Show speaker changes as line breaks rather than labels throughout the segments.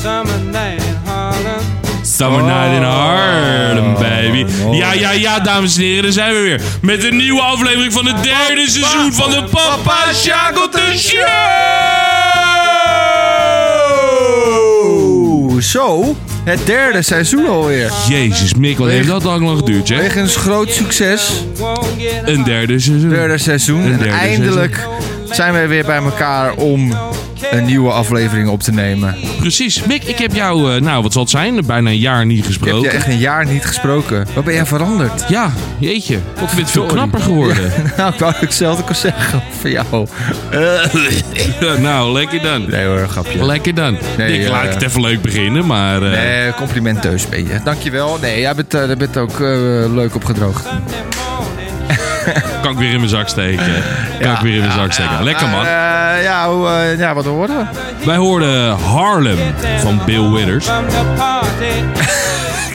Summer
Oh.
Night in Harlem, baby. Ja, ja, ja, dames en heren, daar zijn we weer. Met een nieuwe aflevering van het derde seizoen van de Papa Shackleton Show!
Oeh, zo. Het derde seizoen alweer.
Jezus, Mick, wat heeft dat lang lang geduurd, hè?
Wegens groot succes.
Een derde seizoen.
Derde seizoen.
Een
En
derde
eindelijk zijn we weer bij elkaar om een nieuwe aflevering op te nemen.
Precies. Mick, ik heb jou, eh, nou, wat zal het zijn? Bijna een jaar niet
Ik heb
gesproken.
je echt een jaar niet gesproken. Wat ben jij veranderd?
Ja, jeetje. Ik vind het veel knapper geworden.
Nou, ik wou hetzelfde kunnen zeggen voor jou.
nou, lekker dan.
Nee hoor, grapje.
Lekker dan.
Nee,
ik
eh,
laat ik het even leuk beginnen, maar... eh,
Nee, complimenteus ben je. Dankjewel. Nee, jij bent, eh, daar bent ook eh, leuk opgedroogd.
Kan ik weer in mijn zak steken. Kan ik weer in mijn zak steken. Lekker man.
Maar, eh, ja, hoe, eh, ja, wat horen
Wij hoorden Harlem van Bill Withers.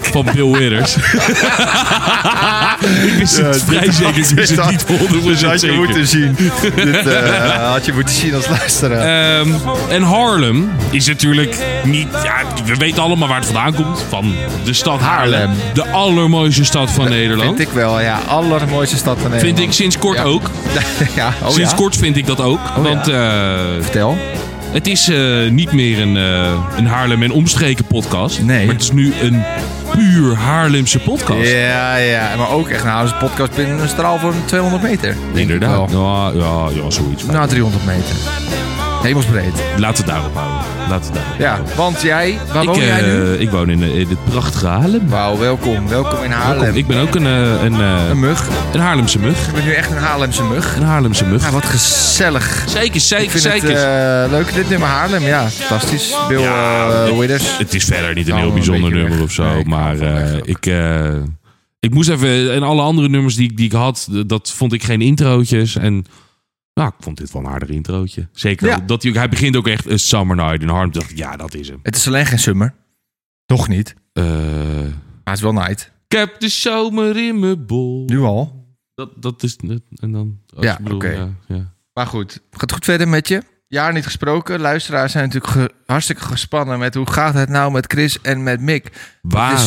Van Bill Withers. ik wist het
Ja,
vrij
dit
zeker. Ik
had-
wist het
dit
niet 100%
Dit had je
zeker.
moeten zien. Dit eh, had je moeten zien als luisteraar.
Ehm, en Harlem is natuurlijk niet... Ja, we weten allemaal waar het vandaan komt. Van de stad Haarlem.
Haarlem.
De allermooiste stad van Nederland.
Vind ik wel, ja. Allermooiste stad van Nederland.
Vind ik sinds kort
Ja.
ook.
ja, oh
sinds
ja? Oh
kort vind ik dat ook. want eh,
Vertel.
Het is eh, niet meer een, eh, een Haarlem en omstreken podcast.
Nee.
Maar het is nu een puur Haarlemse podcast.
Ja, ja. Maar ook echt, nou, is een podcast binnen een straal van 200 meter. denk ik
Inderdaad.
wel.
Ja, ja, ja, zoiets.
Nou, 300 meter. Hemelsbreed.
Laat het daarop houden. Laat het daarop.
Ja, want jij, waar
ik,
woon jij
eh,
nu?
ik woon in, eh, in het prachtige Haarlem.
Wauw, welkom. Welkom in Haarlem.
Ik ben ook een, eh, een, eh,
Een mug.
een Haarlemse mug.
Ik ben nu echt een Haarlemse mug.
Een Haarlemse mug.
Ja, wat gezellig.
Zeker,
Ik
zeker,
vind het
zeker.
eh, leuk, dit nummer Haarlem. Ja, fantastisch. Bill
Ja,
eh,
het-
Withers.
Het is verder niet een
Kan
heel
wel Nou, een
bijzonder
beetje
nummer
weg.
of zo.
Nee, kan
maar
wel
eh,
weg.
ik, eh, ik moest even. En alle andere nummers die, ik- die ik had, d- dat vond ik geen introotjes. En nou, ik vond dit wel een aardig introotje. Zeker.
Ja.
Dat hij, ook- hij begint ook echt een Summer Night in Harlem. Toen dacht ik, ja, dat is hem.
Het is alleen geen summer. Nog niet.
Eh,
Maar het is wel night.
ik heb de zomer in mijn bol.
Nu al.
Dat, dat is. net- En dan. oh,
Ja,
ik bedoel,
oké.
ja, ja.
Maar goed, gaat goed verder met je. Jaar niet gesproken. Luisteraars zijn natuurlijk ge- hartstikke gespannen met hoe gaat het nou met Chris en met Mick. is zo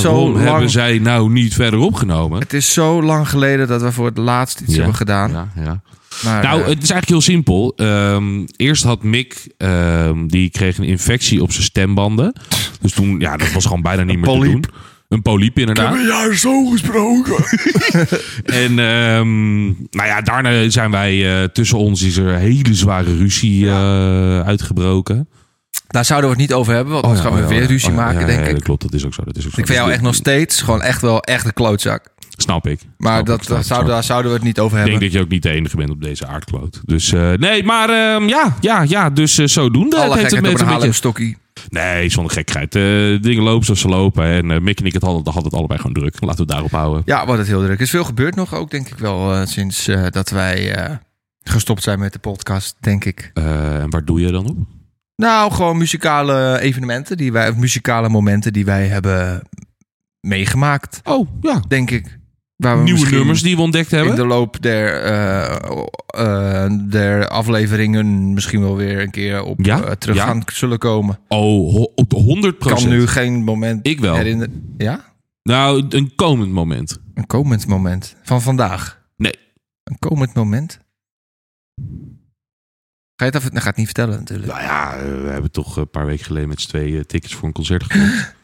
Waarom
lang-
hebben zij nou niet verder opgenomen?
Het is zo lang geleden dat we voor het laatst iets
Ja.
hebben gedaan.
Ja, ja.
Maar,
Nou,
eh,
het is eigenlijk heel simpel. Ehm, eerst had Mick, ehm, die kreeg een infectie op zijn stembanden. Dus toen, ja, dat was gewoon bijna niet meer te
polyp.
doen. Een polyp, inderdaad.
een jaar zo gesproken.
En ehm, nou ja, daarna zijn wij, eh, tussen ons is er een hele zware ruzie eh, uitgebroken.
Daar Nou, zouden we het niet over hebben, want
Oh
anders
ja,
gaan we
oh ja,
weer
oh ja,
ruzie
oh ja,
maken,
ja,
denk
ja,
ik.
dat klopt, dat is ook zo. Dat is ook zo.
Ik vind jou
Dus
echt nog
dit-
steeds gewoon echt wel echt een klootzak.
Snap ik. Snap
Maar
ik,
dat,
snap
daar
ik,
zouden,
snap
daar zouden we het niet over
ik
hebben.
denk dat je ook niet de enige bent op deze aardkloot. Dus eh, nee, maar ehm, ja, ja, ja, dus eh, zodoende. Het
Alle
heeft
gekheid
met
op een
beetje-
Haarlemstokkie.
Nee, zonder gekheid. Eh, dingen lopen zoals ze lopen. En eh, Mick en ik het hadden, hadden het allebei gewoon druk. Laten we het daarop houden.
Ja, wat het heel druk is. Veel gebeurt nog ook, denk ik wel, eh, sinds eh, dat wij eh, gestopt zijn met de podcast, denk ik.
Eh, en waar doe je dan op?
Nou, gewoon muzikale evenementen die wij, of muzikale momenten die wij hebben meegemaakt,
Oh, ja.
denk ik. Waar we
Nieuwe
misschien
nummers die we ontdekt hebben.
in de loop der, eh, eh, der afleveringen misschien wel weer een keer op
Ja,
eh, terug
ja.
gaan zullen komen.
Oh, ho- op de 100
Kan nu geen moment
Ik wel.
herinneren. Ja?
Nou, een komend moment.
Een komend moment van vandaag.
Nee.
Een komend moment? Ga je het af? Nou, ga het niet vertellen natuurlijk.
Nou ja, eh, we hebben toch een paar weken geleden met z'n twee tickets voor een concert gekocht.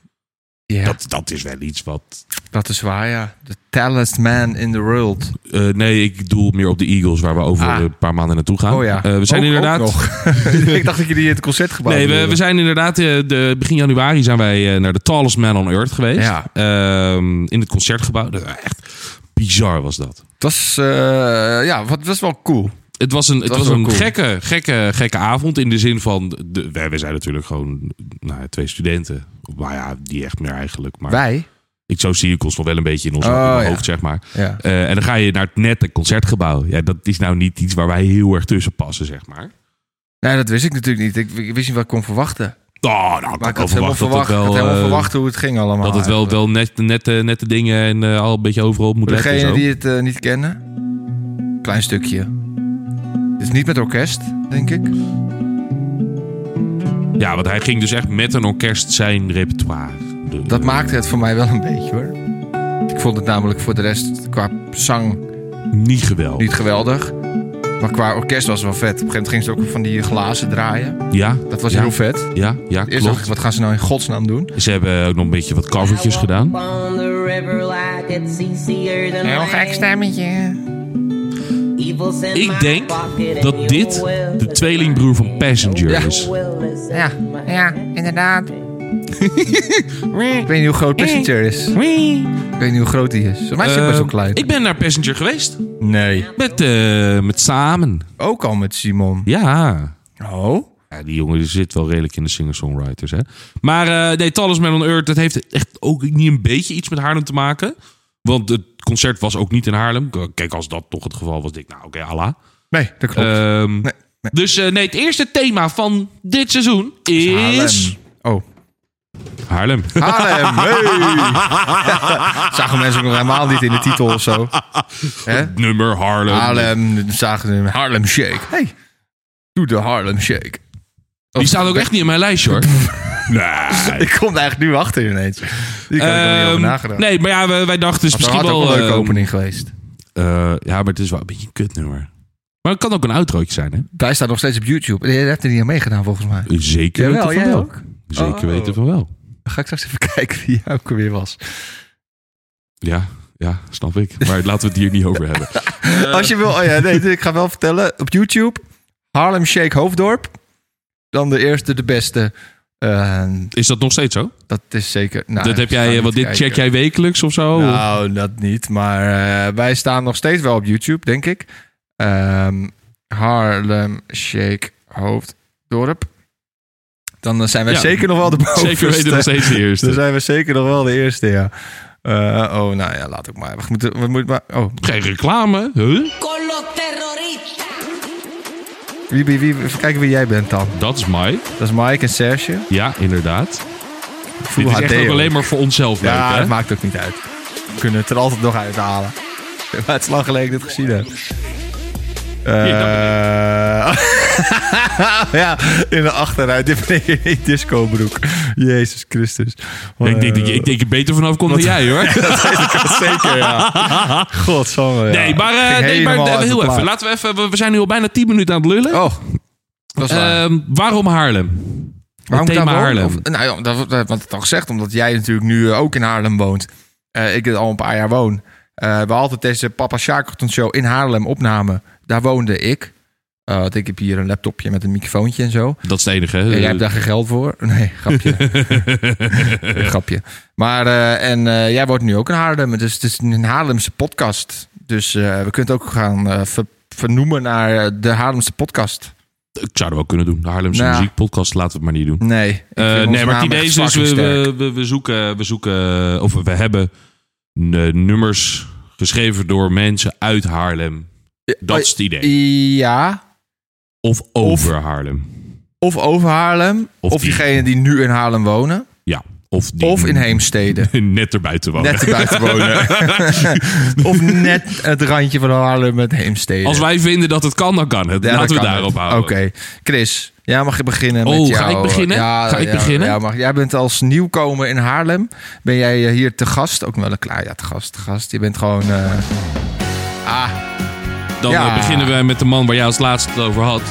Ja, dat,
dat, dat is wel iets wat...
is waar, ja. The tallest man in the world.
Eh, nee, ik doel meer op de Eagles, waar we over
Ah.
een paar maanden naartoe gaan.
Oh ja.
Eh, we zijn
Ook- ook
inderdaad...
nog. ik dacht dat jullie in het concertgebouw
Nee, we, we zijn inderdaad, eh, de, begin januari zijn wij eh, naar de Tallest Man on Earth geweest.
Ja.
Ehm, in het concertgebouw. Dat- Echt bizar was dat.
Het was, eh, ja, wat was wel cool.
Het was een, het
was
was
wel
een
cool.
gekke, gekke, gekke avond in de zin van... De, wij, wij zijn natuurlijk gewoon nou, ja, twee studenten. Maar ja, die echt meer eigenlijk. Maar
Wij?
ik zo zie ik ons nog wel een beetje in ons
Oh, ja.
hoofd, zeg maar.
Ja.
Eh, en dan ga je naar het net een concertgebouw. Ja, dat is nou niet iets waar wij heel erg tussen passen, zeg maar.
Nee, dat wist ik natuurlijk niet. Ik, ik wist niet wat ik kon verwachten.
Oh, nou, ik
Maar ik
wel
had helemaal
verwacht dat
verwacht,
het wel...
ik had helemaal
eh,
verwacht hoe het ging allemaal.
Dat het wel,
eigenlijk.
wel net, nette, nette dingen en eh, al een beetje overal op moet
Voor
letten. en
degenen
zo.
die het eh, niet kennen. Klein stukje. Het is niet met orkest, denk ik.
Ja, want hij ging dus echt met een orkest zijn repertoire de-
Dat maakte het voor mij wel een beetje hoor. Ik vond het namelijk voor de rest qua zang
niet geweldig.
niet geweldig. Maar qua orkest was het wel vet. Op een gegeven moment gingen ze ook van die glazen draaien.
Ja,
Dat was
ja,
heel vet.
Ja, ja,
Eerst dacht ik,
klopt.
wat gaan ze nou in godsnaam doen?
Ze hebben ook nog een beetje wat covertjes gedaan.
Heel
stemmetje.
Ik denk dat dit de tweelingbroer van Passenger
Ja.
is.
Ja, ja, inderdaad. ik weet niet hoe groot Passenger is. Ik weet niet hoe groot die is. Volgens mij is hij
Eh,
best wel klein.
Ik ben naar Passenger geweest.
Nee.
Met, eh, met Samen.
Ook al met Simon.
Ja.
Oh?
Ja, die jongen die zit wel redelijk in de singer-songwriters, hè. Maar eh nee, Talisman on Earth, dat heeft echt ook niet een beetje iets met Haarlem te maken. Want het concert was ook niet in Haarlem. K- Kijk, als dat toch het geval was, denk ik, nou oké, Allah.
Nee, dat klopt.
Ehm,
nee, nee.
Dus eh, nee, het eerste thema van dit seizoen is...
Oh.
Haarlem.
Haarlem, hey. zagen mensen ook nog helemaal niet in de titel of zo. Hè?
Nummer Haarlem.
Haarlem, zagen een Haarlem Shake. Hey, doe de Haarlem Shake. Oh,
Die staat ook echt niet in mijn lijstje, hoor. nee.
Ik kom daar eigenlijk nu achter ineens. Die kan ik nog niet over
Ehm,
nagedacht.
nee, maar ja, we- wij, dachten dus
dat
misschien
had ook
wel...
een leuke
ehm,
opening geweest.
eh, ja, maar het is wel een beetje een kutnummer. Maar het kan ook een outrootje zijn, hè?
Hij staat nog steeds op YouTube. Je hebt er niet aan meegedaan volgens mij.
Zeker
Jawel,
weten van
jij
wel.
ook?
Zeker
Oh.
weten van wel.
Dan ga ik straks even kijken wie hij ook weer was.
Ja, ja, snap ik. Maar laten we het hier niet over hebben. Eh.
Als je wil, oh ja, nee, ik ga wel vertellen. Op YouTube, Harlem Shake Hoofddorp. Dan de eerste, de beste. Eh,
Is dat nog steeds zo?
dat is zeker... Nou,
dat heb
ik ga
jij,
Ah, niet
want dit
kijken.
check jij wekelijks of zo?
Nou, dat niet. Maar eh, wij staan nog steeds wel op YouTube, denk ik. Ehm, Harlem Shake Hoofddorp. Dan eh, zijn wij
Ja,
zeker nog wel de bovenste.
Zeker weten nog steeds de eerste.
Dan zijn we zeker nog wel de eerste, ja. Eh, oh, nou ja, laat ook maar. We moeten, we moeten maar... Oh,
Geen reclame, huh?
wie, wie, wie, even kijken wie jij bent dan.
Dat is Mike.
Dat is Mike en Serge.
Ja, inderdaad.
Voel
Dit is echt
HD,
ook
hoor.
alleen maar voor onszelf leuk,
Ja,
hè?
dat maakt ook niet uit. We kunnen het er altijd nog uithalen. Maar het is lang geleden dat ik dit gezien heb. Eh, ja, in de achteruit. Dit ben ik in die discobroek. Jezus Christus. Eh,
ik, denk, dat je- ik denk dat je beter vanaf komt dan jij, hoor.
Zeker, ja. Godsamme, ja.
Nee, maar, eh,
Ging
nee, maar
helemaal
eh,
uit de
heel
plaat.
even. Laten we even. we- We zijn nu al bijna 10 minuten aan het lullen.
Oh, dat is waar.
Ehm, waarom Haarlem?
Waarom
thema
daar woon?
Haarlem.
Of- nou ja, dat, dat, wat het al gezegd, omdat jij natuurlijk nu eh, ook in Haarlem woont. Eh, ik al een paar jaar woon. Eh, we altijd deze Papa Shakerton show in Haarlem opnamen. Daar woonde ik. Eh, want ik heb hier een laptopje met een microfoontje en zo.
Dat is het enige. hè?
En jij hebt daar geen geld voor? Nee, grapje. grapje. Maar, eh, en eh, jij woont nu ook in Haarlem. Dus het is een Haarlemse podcast. Dus eh, we kunnen het ook gaan eh, ver- vernoemen naar eh, de Haarlemse podcast.
Ik zou dat wel kunnen doen. De Haarlemse
Nou.
muziekpodcast, laten we het maar niet doen.
Nee. ik
Eh,
vind onze
nee, maar het
naam
idee
echt
is dus,
fucking
we,
sterk.
we, we- we zoeken, we zoeken, of we hebben eh, nummers geschreven door mensen uit Haarlem. Dat
Oh,
is het idee.
Ja,
Of over Haarlem.
Of over Haarlem.
Of
Of,
die-
diegenen die nu in Haarlem wonen.
Ja. Of, die, Oh.
Of in Heemstede.
Net erbuiten wonen.
Net erbuiten wonen. of net het randje van Haarlem met Heemstede.
Als wij vinden dat het kan, dan kan het.
Ja, dat
Laten we
kan
daarop
het.
houden.
Oké. Chris, jij mag beginnen
Oh,
met
ga
jou.
ik beginnen?
Ja,
Ga ik
ja,
beginnen?
ja, mag. Jij bent als nieuwkomer in Haarlem. Ben jij eh, hier te gast? Ook wel een klaar. Ja, te gast, te gast. Je bent gewoon... eh,
Dan
Ja.
eh, beginnen we met de man waar jij als laatste het over had.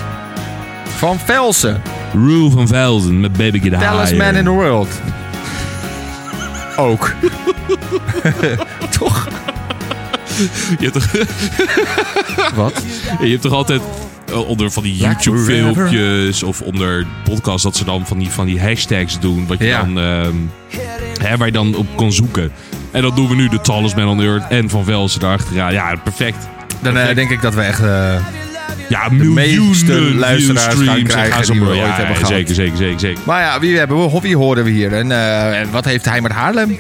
van Velsen.
Rue van Velden met Baby Get Higher.
Talisman in the world. Ook. Toch?
Je hebt toch,
Wat?
je hebt toch altijd eh, onder van die
Like
YouTube-filmpjes of onder podcasts dat ze dan van die, van die hashtags doen. Wat je
Ja.
dan, ehm, hè, waar je dan op kon zoeken. En dat doen we nu, de Talisman on the Earth en Van Velsen erachteraan. Ja, perfect.
Dan eh, denk ik dat we echt... eh,
Ja, miljoenen
luisteraars gaan
viewstreams en
krijgen
ga zo
die we
maar-
ooit
ja,
hebben
ja,
gehad.
Zeker, zeker, zeker, zeker.
Maar ja, wie, hebben we, wie horen we hier? En eh, en wat heeft hij met Haarlem?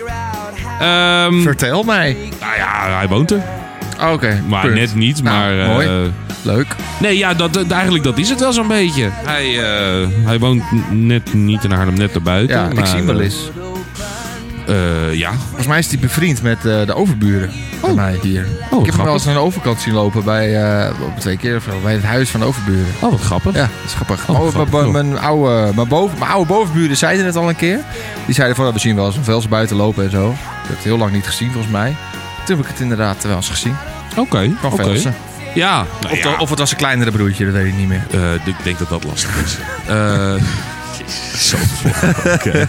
Ehm,
Vertel mij.
nou ja, hij woont er.
Oké,
Maar
punt.
net niet,
Nou,
maar... eh,
mooi. Leuk.
Nee, ja, dat, dat- eigenlijk dat is het wel zo'n beetje. Hij, eh, hij woont n- net niet in Haarlem, net erbuiten.
Ja,
maar,
ik zie hem wel eens.
eh, Eh, ja.
Volgens mij is die bevriend met eh, de overburen van mij hier. ik heb hem wel
Oh. grappig.
eens aan de overkant zien lopen bij, eh, op twee keer of zo, bij het huis van de overburen.
Oh, wat grappig.
Ja, dat is grappig.
Oh,
Maar
grappig.
mijn- mijn, oude, mijn, boven, mijn oude bovenburen zeiden het al een keer. Die zeiden van, ja, we zien wel eens een vels buiten lopen en zo. Ik heb het heel lang niet gezien, volgens mij. Toen heb ik het inderdaad wel eens gezien.
Oké.
Van
oké.
velsen.
Ja. Nou
Of,
ja.
de- of het was een kleinere broertje, dat weet ik niet meer.
Eh, ik denk dat dat lastig is. Eh, Jezus, zo vervolgd. Oké.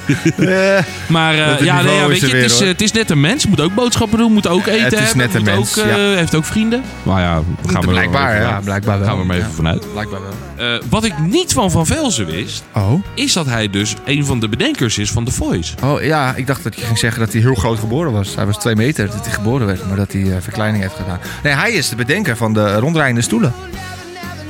Maar eh,
Het
ja,
niveau
nee, ja,
is
weet je,
er weer,
het is,
hoor.
eh, het is net een mens. Moet ook boodschappen doen, moet ook eten
het is
hebben,
net een
moet
mens,
ook, eh, heeft ook vrienden. Nou ja, we gaan we
blijkbaar, ja, blijkbaar wel.
Gaan we maar even
Ja.
vanuit.
Blijkbaar wel.
Eh, wat ik niet van Van Velzen wist,
Oh?
is dat hij dus een van de bedenkers is van The Voice.
Oh ja, ik dacht dat je ging zeggen dat hij heel groot geboren was. Hij was twee meter dat hij geboren werd, maar dat hij eh, verkleining heeft gedaan. Nee, hij is de bedenker van de rondrijdende stoelen.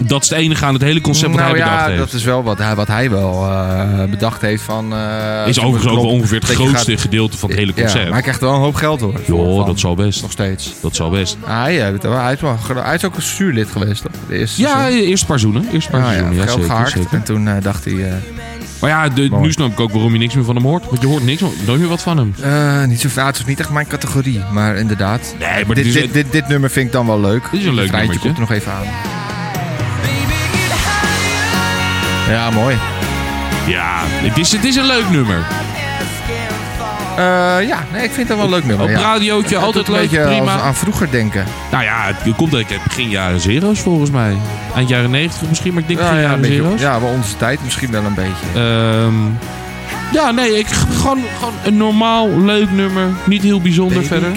Dat is het enige aan het hele concept dat
nou
hij bedacht
ja,
heeft.
dat is wel wat hij, wat hij wel eh, bedacht heeft van... eh,
is overigens ook wel ongeveer het
dat je
grootste
gaat-
gedeelte van het hele
Ja, maar hij
concept.
krijgt er wel een hoop geld hoor.
Joh,
Van-
dat zal best.
Nog steeds.
Dat zal best.
Hij, eh, weet je wel, hij, is wel, gro- hij is ook een zuurlid geweest. Toch? De eerste
Ja,
seizoen.
eerst een paar zoenen. Eerst een paar
Ah, ja,
zoenen, ja,
geld
zeker,
gehaakt.
zeker.
En toen eh, dacht hij... eh,
Maar ja, de-
Mooi.
nu snap ik ook waarom je niks meer van hem hoort. Want je hoort niks, nooit meer wat van hem.
eh, niet zo vaak, het is niet echt mijn categorie, maar inderdaad.
Nee, maar
dit,
dit is-
dit, dit, dit nummer vind ik dan wel leuk.
Dit is een leuk
Het rijtje
nummertje.
komt er nog even aan. Ja, mooi.
Ja, het is, het is een leuk nummer.
Eh, ja, nee, ik vind het wel een leuk nummer.
Op
ja.
radiootje,
Het
altijd
doet een
leuk,
beetje
prima.
als aan vroeger denken.
Nou ja, het, het komt uit begin jaren zero's volgens mij. Eind jaren negentig misschien, maar ik denk
Ja,
begin
ja, een
jaren
beetje,
zero's.
ja, wel onze tijd misschien wel een beetje.
Ehm, ja, nee, ik, gewoon, gewoon een normaal leuk nummer. Niet heel bijzonder verder.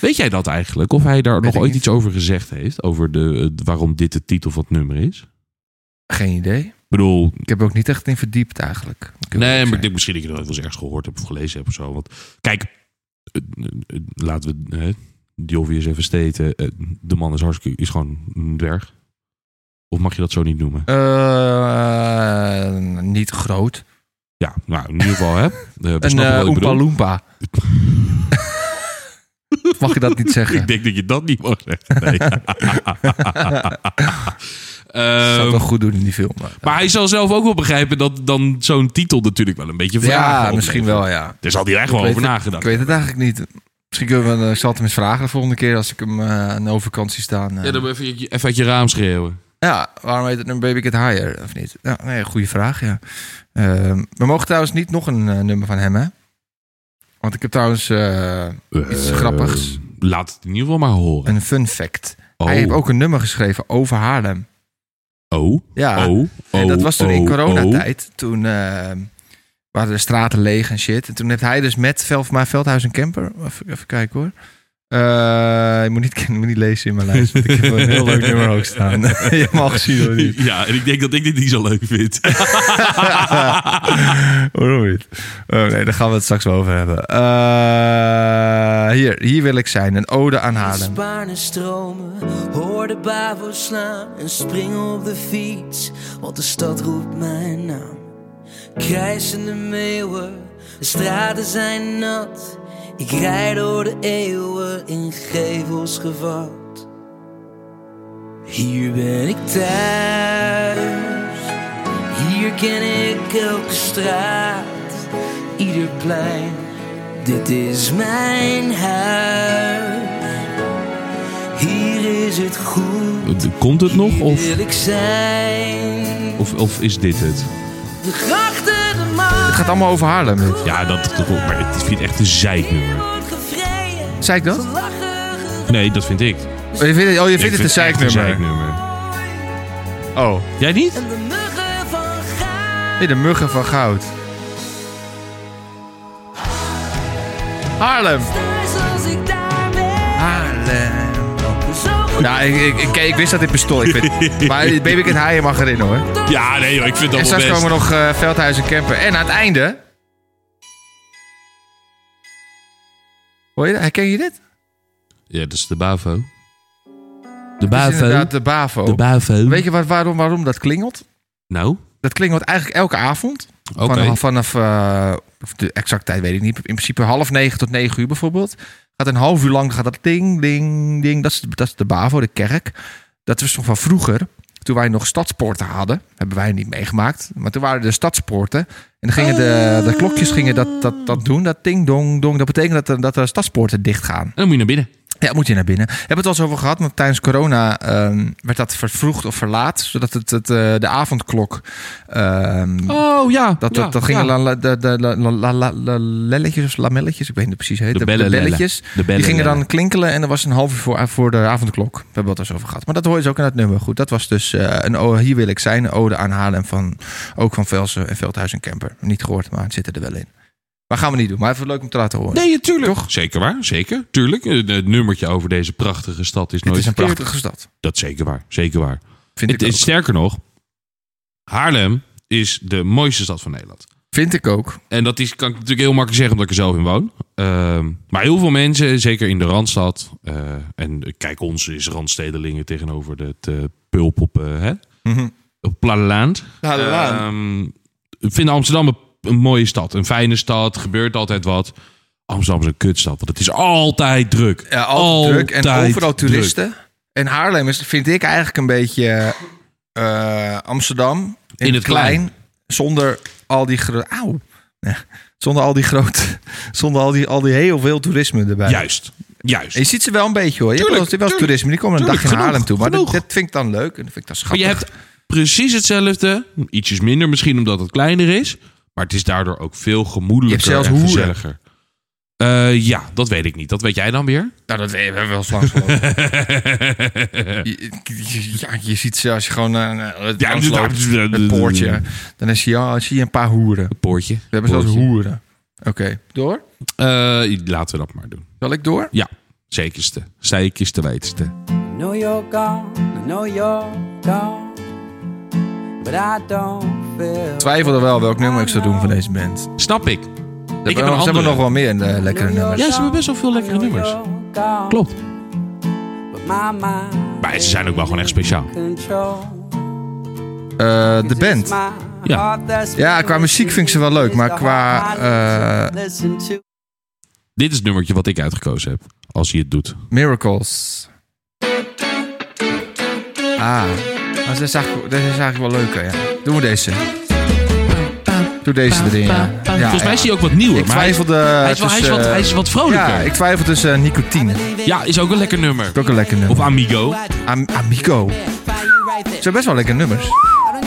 Weet jij dat eigenlijk? Of hij daar
Weet
nog
ik
ooit
niet.
iets over gezegd heeft? Over de, het- waarom dit de titel van het nummer is?
Geen idee.
Ik bedoel,
Ik heb er ook niet echt in verdiept eigenlijk. Moet ik
nee,
eerlijk
maar ik
zijn.
denk misschien dat ik het wel eens ergens gehoord heb of gelezen heb of zo. Want kijk, eh, eh, eh, laten we hè, die obvious even steten. Eh, de man is hartstikke, is gewoon een dwerg. Of mag je dat zo niet noemen?
Eh, niet groot.
Ja, nou in ieder geval hè. eh, we
Een
snappen
eh
wat ik
Oompa
bedoel.
Loompa. Mag je dat niet zeggen?
Ik denk dat je dat niet mag zeggen. Nee.
Dat zou
Ehm,
het wel goed doen in die film. maar-
maar hij zal zelf ook wel begrijpen dat dan zo'n titel natuurlijk wel een beetje vragen
ja,
oplevert.
misschien wel, ja.
Daar zal hij echt wel
Ik weet
over
het-
nagedacht.
Ik weet het eigenlijk niet. Misschien kunnen we, eh, ik zal het hem eens vragen de volgende keer als ik hem eh, aan de overkant zie staan. eh.
Ja, dan even, even uit je raam schreeuwen.
Ja, waarom heet het een Baby Get Higher, of niet? Ja, nee, goede vraag, ja. Ehm, we mogen trouwens niet nog een eh, nummer van hem, hè? Want ik heb trouwens eh, Iets
Eh,
grappigs.
Laat het in ieder geval maar horen.
een fun fact.
Oh,
Hij heeft ook een nummer geschreven over Haarlem.
oh,
Ja,
oh,
en dat
oh,
was toen in
oh,
coronatijd. Toen eh, waren de straten leeg en shit. En toen heeft hij dus met Velfma Veldhuis en Kemper... Even, even kijken hoor. Eh, je moet niet, je moet niet lezen in mijn lijst. want Ik heb een heel leuk nummer ook staan. je hebt hem al gezien hoor.
oh.
niet?
Ja, en ik denk dat ik dit niet zo leuk vind.
Waarom niet? Oh, nee, daar gaan we het straks wel over hebben. Eh, hier, hier wil ik zijn. Een ode aan Haarlem.
Spaarne stromen, hoor de bavo slaan en spring op de fiets, want de stad roept mijn naam. Krijsende meeuwen, de straten zijn nat. Ik rijd door de eeuwen in gevels gevat. Hier ben ik thuis, hier ken ik elke straat, ieder plein. Dit is mijn huis, hier is het goed.
Komt het nog?
Hier
Of,
wil ik zijn.
of, of is dit het?
De grachten, de maan.
Het gaat allemaal over Haarlem. dit.
Ja, dat, dat- maar ik vind het echt een zeiknummer.
wordt gevreden.
Zei ik dat?
Gelachen, gelachen.
Nee, dat vind ik.
Oh, je vindt, het- oh, je
Ik
vindt het een
vind echt
zeiknummer.
zeiknummer.
Oh,
Jij niet?
En de muggen van goud.
nee, de muggen van goud. Haarlem.
Thuis als ik daar ben.
Haarlem.
Zo goed
Ja, Nou, ik, ik, ik, ik wist dat dit bestond. Ik vind, maar Baby Cat Haaien mag erin hoor.
Ja, nee joh, ik vind
En
dat wel
straks
best.
komen nog eh, Veldhuis en Kemper. En aan het einde... Hoor je dat? Herken je dit?
Ja, dat is de Bavo. De
Dat is
Bavo.
inderdaad de BAVO.
De Bavo.
Weet je wat, waarom, waarom dat klingelt?
Nou,
Dat klingelt eigenlijk elke avond.
oké.
Vanaf, vanaf eh, of de exacte tijd weet ik niet. In principe half negen tot negen uur bijvoorbeeld. Gaat een half uur lang gaat dat ding, ding, ding. Dat is, dat is de BAVO, de kerk. Dat was nog van vroeger. Toen wij nog stadspoorten hadden, hebben wij niet meegemaakt. Maar toen waren er stadspoorten. En dan gingen de, de klokjes gingen dat, dat, dat doen, dat ding-dong-dong. Dat betekent dat de, dat de stadspoorten dichtgaan.
dan moet je naar binnen.
Ja, moet je naar binnen. We hebben het wel eens over gehad, want tijdens corona ehm, werd dat vervroegd of verlaat. Zodat het, het, eh, de avondklok ehm,
Oh ja.
dat,
ja,
dat, dat gingen
ja.
la- la- de- de- la- la- la- la- la- lelletjes of lamelletjes, ik weet niet precies. Heet.
De bellen-
belletjes.
lellen. De bellen-
die gingen dan
lellen.
klinkelen en er was een half uur voor, voor de avondklok. We hebben het er zo over gehad. Maar dat hoor je dus ook in het nummer. Goed, dat was dus eh, een o- Hier wil ik zijn, een ode aan Haarlem van ook van Velsen en Veldhuis en Kemper. Niet gehoord, maar het zit er wel in. Maar gaan we niet doen, maar even leuk om te laten horen.
Nee, ja, tuurlijk. Zeker waar, zeker. Tuurlijk. Eh, Het nummertje over deze prachtige stad is
het
nooit
is een
verkeerd.
prachtige stad,
Dat is zeker waar, zeker waar.
vind
Het
ik
is-
ook.
sterker nog, Haarlem is de mooiste stad van Nederland.
Vind ik ook.
En dat is, kan ik natuurlijk heel makkelijk zeggen, omdat ik er zelf in woon. Ehm, maar heel veel mensen, zeker in de Randstad... eh, en kijk, ons is Randstedelingen tegenover het eh, pulp op, eh, hè?
Mhm.
op Plaland. Ehm, ik vind Amsterdam een, een mooie stad. Een fijne stad, gebeurt altijd wat. Amsterdam is een kutstad, want het is altijd druk.
Ja, altijd druk en
Altijd
overal
druk.
toeristen. En Haarlem is, vind ik eigenlijk een beetje eh, Amsterdam in,
het
het klein, zonder al die gro- Auw. Nee, zonder al die groot, zonder al die, al die heel veel toerisme erbij.
Juist, juist.
En je ziet ze wel een beetje hoor. Je
Tuurlijk,
hebt wel, eens- wel
tuurlijk,
eens toerisme, die komen een
tuurlijk,
dagje naar
genoeg,
Haarlem toe. Maar dat,
genoeg.
dat vind ik dan leuk en dat vind ik
Maar
dan schattig.
je hebt precies hetzelfde. Ietsjes minder misschien omdat het kleiner is. Maar het is daardoor ook veel gemoedelijker
Je hebt zelfs
en
hoeren.
gezelliger. Eh, ja, dat weet ik niet. Dat weet jij dan weer?
Nou, dat we- we hebben we wel eens langs gelopen. Je- je- Ja, je ziet ze als je gewoon naar het
Ja,
langs loopt, het poortje. Dan is, ja, zie je een paar hoeren.
Het poortje.
We hebben zelfs
Poortje.
hoeren. Oké, door.
Eh, laten we dat maar doen.
Zal ik door?
Ja, zekerste. Zekerste wetste.
know you're gone, I know you're gone, but I don't feel.
twijfelde wel welk nummer ik zou doen van deze band. Ze
Snap ik. ik heb een
hebben, nog- ze
andere.
hebben nog wel meer eh, lekkere nummers.
Ja, ze hebben best wel veel lekkere
I know
nummers.
you're gone,
Klopt.
but my mind
Maar ze zijn ook wel gewoon echt speciaal.
control.
Eh, de
It's
band.
my
Ja.
heart that's
Ja, qua muziek vind ik ze wel leuk, maar qua eh,
Listen to
Dit is het nummertje wat ik uitgekozen heb. Als je het doet.
Miracles. Ah, dat is, eigenlijk, dat is eigenlijk wel leuker, ja. Doen we deze. Doe deze erin, ja. Ja,
Volgens mij
ja.
is hij ook wat nieuwer.
Ik
maar hij is-
twijfelde...
hij is wel- hij is wat- hij is wat vrolijker.
eh, Ja, ik twijfel tussen eh, Nicotine.
Ja, is ook een lekker nummer.
Ook een lekker
Of
nummer.
Amigo.
Am- Amigo. Ze hebben best wel lekker nummers.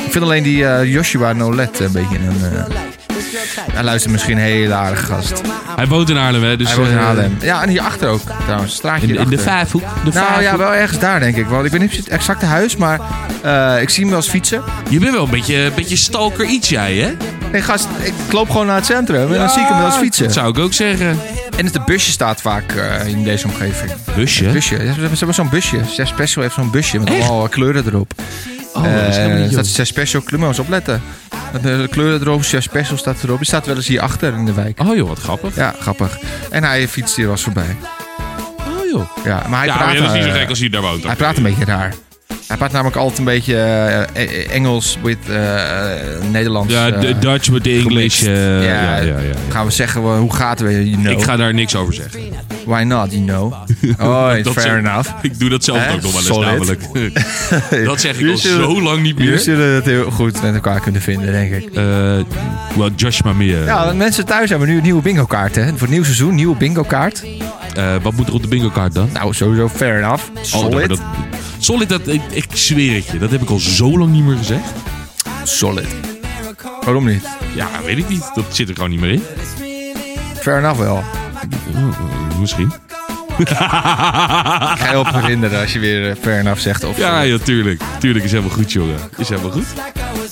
Ik vind alleen die eh, Joshua Nolet een beetje een... eh, hij luistert misschien een hele aardige gast.
Hij woont in Haarlem, hè? Dus,
Hij woont in
eh,
Haarlem. Ja, en hierachter ook trouwens. Straatje
In, de- in de
hierachter.
Vijfhoek. De
Nou ja,
Vijfhoek.
wel ergens daar denk ik. Want ik weet niet precies het exacte huis, maar eh, ik zie hem wel eens fietsen.
Je bent wel een beetje, een beetje stalker iets jij, hè?
Nee gast, ik loop gewoon naar het centrum en dan zie ik hem wel eens fietsen.
Dat zou ik ook zeggen.
En het busje staat vaak eh, in deze omgeving.
Busje?
Busje. Ze hebben- Ze hebben zo'n busje. Zes Special heeft zo'n busje met allemaal uh, kleuren erop.
Oh, dat is helemaal
Eh,
niet
staat
jong.
Zes Special, moet je eens opletten. De kleuren erop, Zes Special staat erop. Die staat wel eens hierachter in de wijk.
Oh joh, wat grappig.
Ja, grappig. En hij fietst hier wel eens voorbij.
Oh joh.
Ja, maar hij
ja,
praat...
maar dat is niet zo
eh,
gek als hij daar woont.
Hij praat een beetje raar. Hij praat namelijk altijd een beetje eh, eh, Engels with eh, eh, Nederlands.
Ja,
eh,
de Dutch met de English.
gemixt.
eh,
ja,
ja, ja, ja.
Gaan we zeggen, wel, hoe gaat het? weer, You know.
Ik ga daar niks over zeggen.
Why not, you know? Oh,
Dat
fair
zeg-
enough.
Ik doe dat zelf
Hè?
ook nog wel eens
Solid.
namelijk. dat zeg ik
Jullie
al
zullen-
zo lang niet
Jullie
meer.
zullen het heel goed met elkaar kunnen vinden, denk ik.
Eh well, judge maar meer.
Ja, want mensen thuis hebben nu een nieuwe bingo kaart, hè? Voor het nieuwe seizoen, nieuwe bingo kaart.
Eh, wat moet er op de bingo kaart dan?
Nou, sowieso fair enough.
Oh,
Solid.
dat, solid, dat, ik, ik zweer het je. Dat heb ik al zo lang niet meer gezegd.
Solid. Waarom niet?
Ja, weet ik niet. Dat zit er gewoon niet meer in.
Fair enough wel.
Eh, misschien.
Ga je op herinneren als je weer eh, fair enough zegt. Of
Ja, ja, tuurlijk. Tuurlijk is helemaal goed, jongen. Is helemaal goed.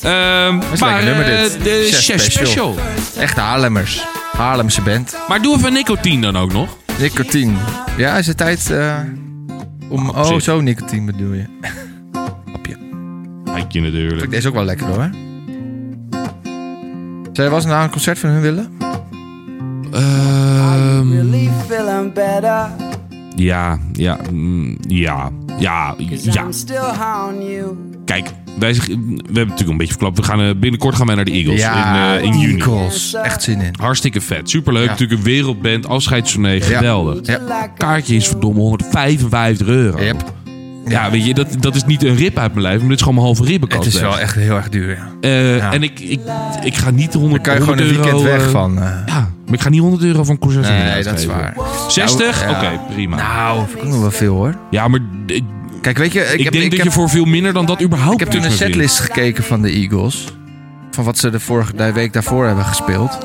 Ehm maar
lekker nummer,
eh,
dit.
de
Chef
Chef
Special.
special.
Echt Haarlemmers. Haarlemse band.
Maar doe even nicotine dan ook nog.
Nicotine. Ja, is het tijd eh, om...
op
Oh,
zich.
zo nicotine bedoel je. Hapje.
Heikje
Vind ik
natuurlijk.
deze ook wel lekker hoor. Zou je wel eens naar een concert van hun willen?
Ehm
really feeling better.
ja, ja, mm, ja, ja, ja.
I'm still on you.
Kijk, wij, zeg- we hebben natuurlijk een beetje verklapt. We gaan, eh, binnenkort gaan wij naar de Eagles in, eh, in juni.
Eagles. Echt zin in.
Hartstikke vet. Superleuk.
Ja.
Natuurlijk een wereldband. Afscheidstournee.
Ja.
Geweldig.
Ja.
Kaartje is verdomme 155 euro.
Yep.
Ja, weet je, dat, dat is niet een rib uit mijn lijf, maar dit is gewoon mijn halve ribbenkast.
Het is
weg.
wel echt heel erg duur, ja.
Eh,
ja.
En ik, ik, ik ga niet 100,
Dan kan je gewoon een
100
weekend
euro,
weg
eh,
van. eh,
Ja, maar ik ga niet 100 euro van concert
nee, dat is waar.
60?
Nou,
Oké,
ja.
prima.
Nou, vind ik ook nog wel veel hoor.
ja, maar d- ik,
Kijk, weet je, ik, heb,
denk
ik
dat
heb,
je voor veel minder dan dat überhaupt
ik heb toen een
niks meer vindt.
setlist gekeken van de Eagles. Van wat ze de vorige de week daarvoor hebben gespeeld.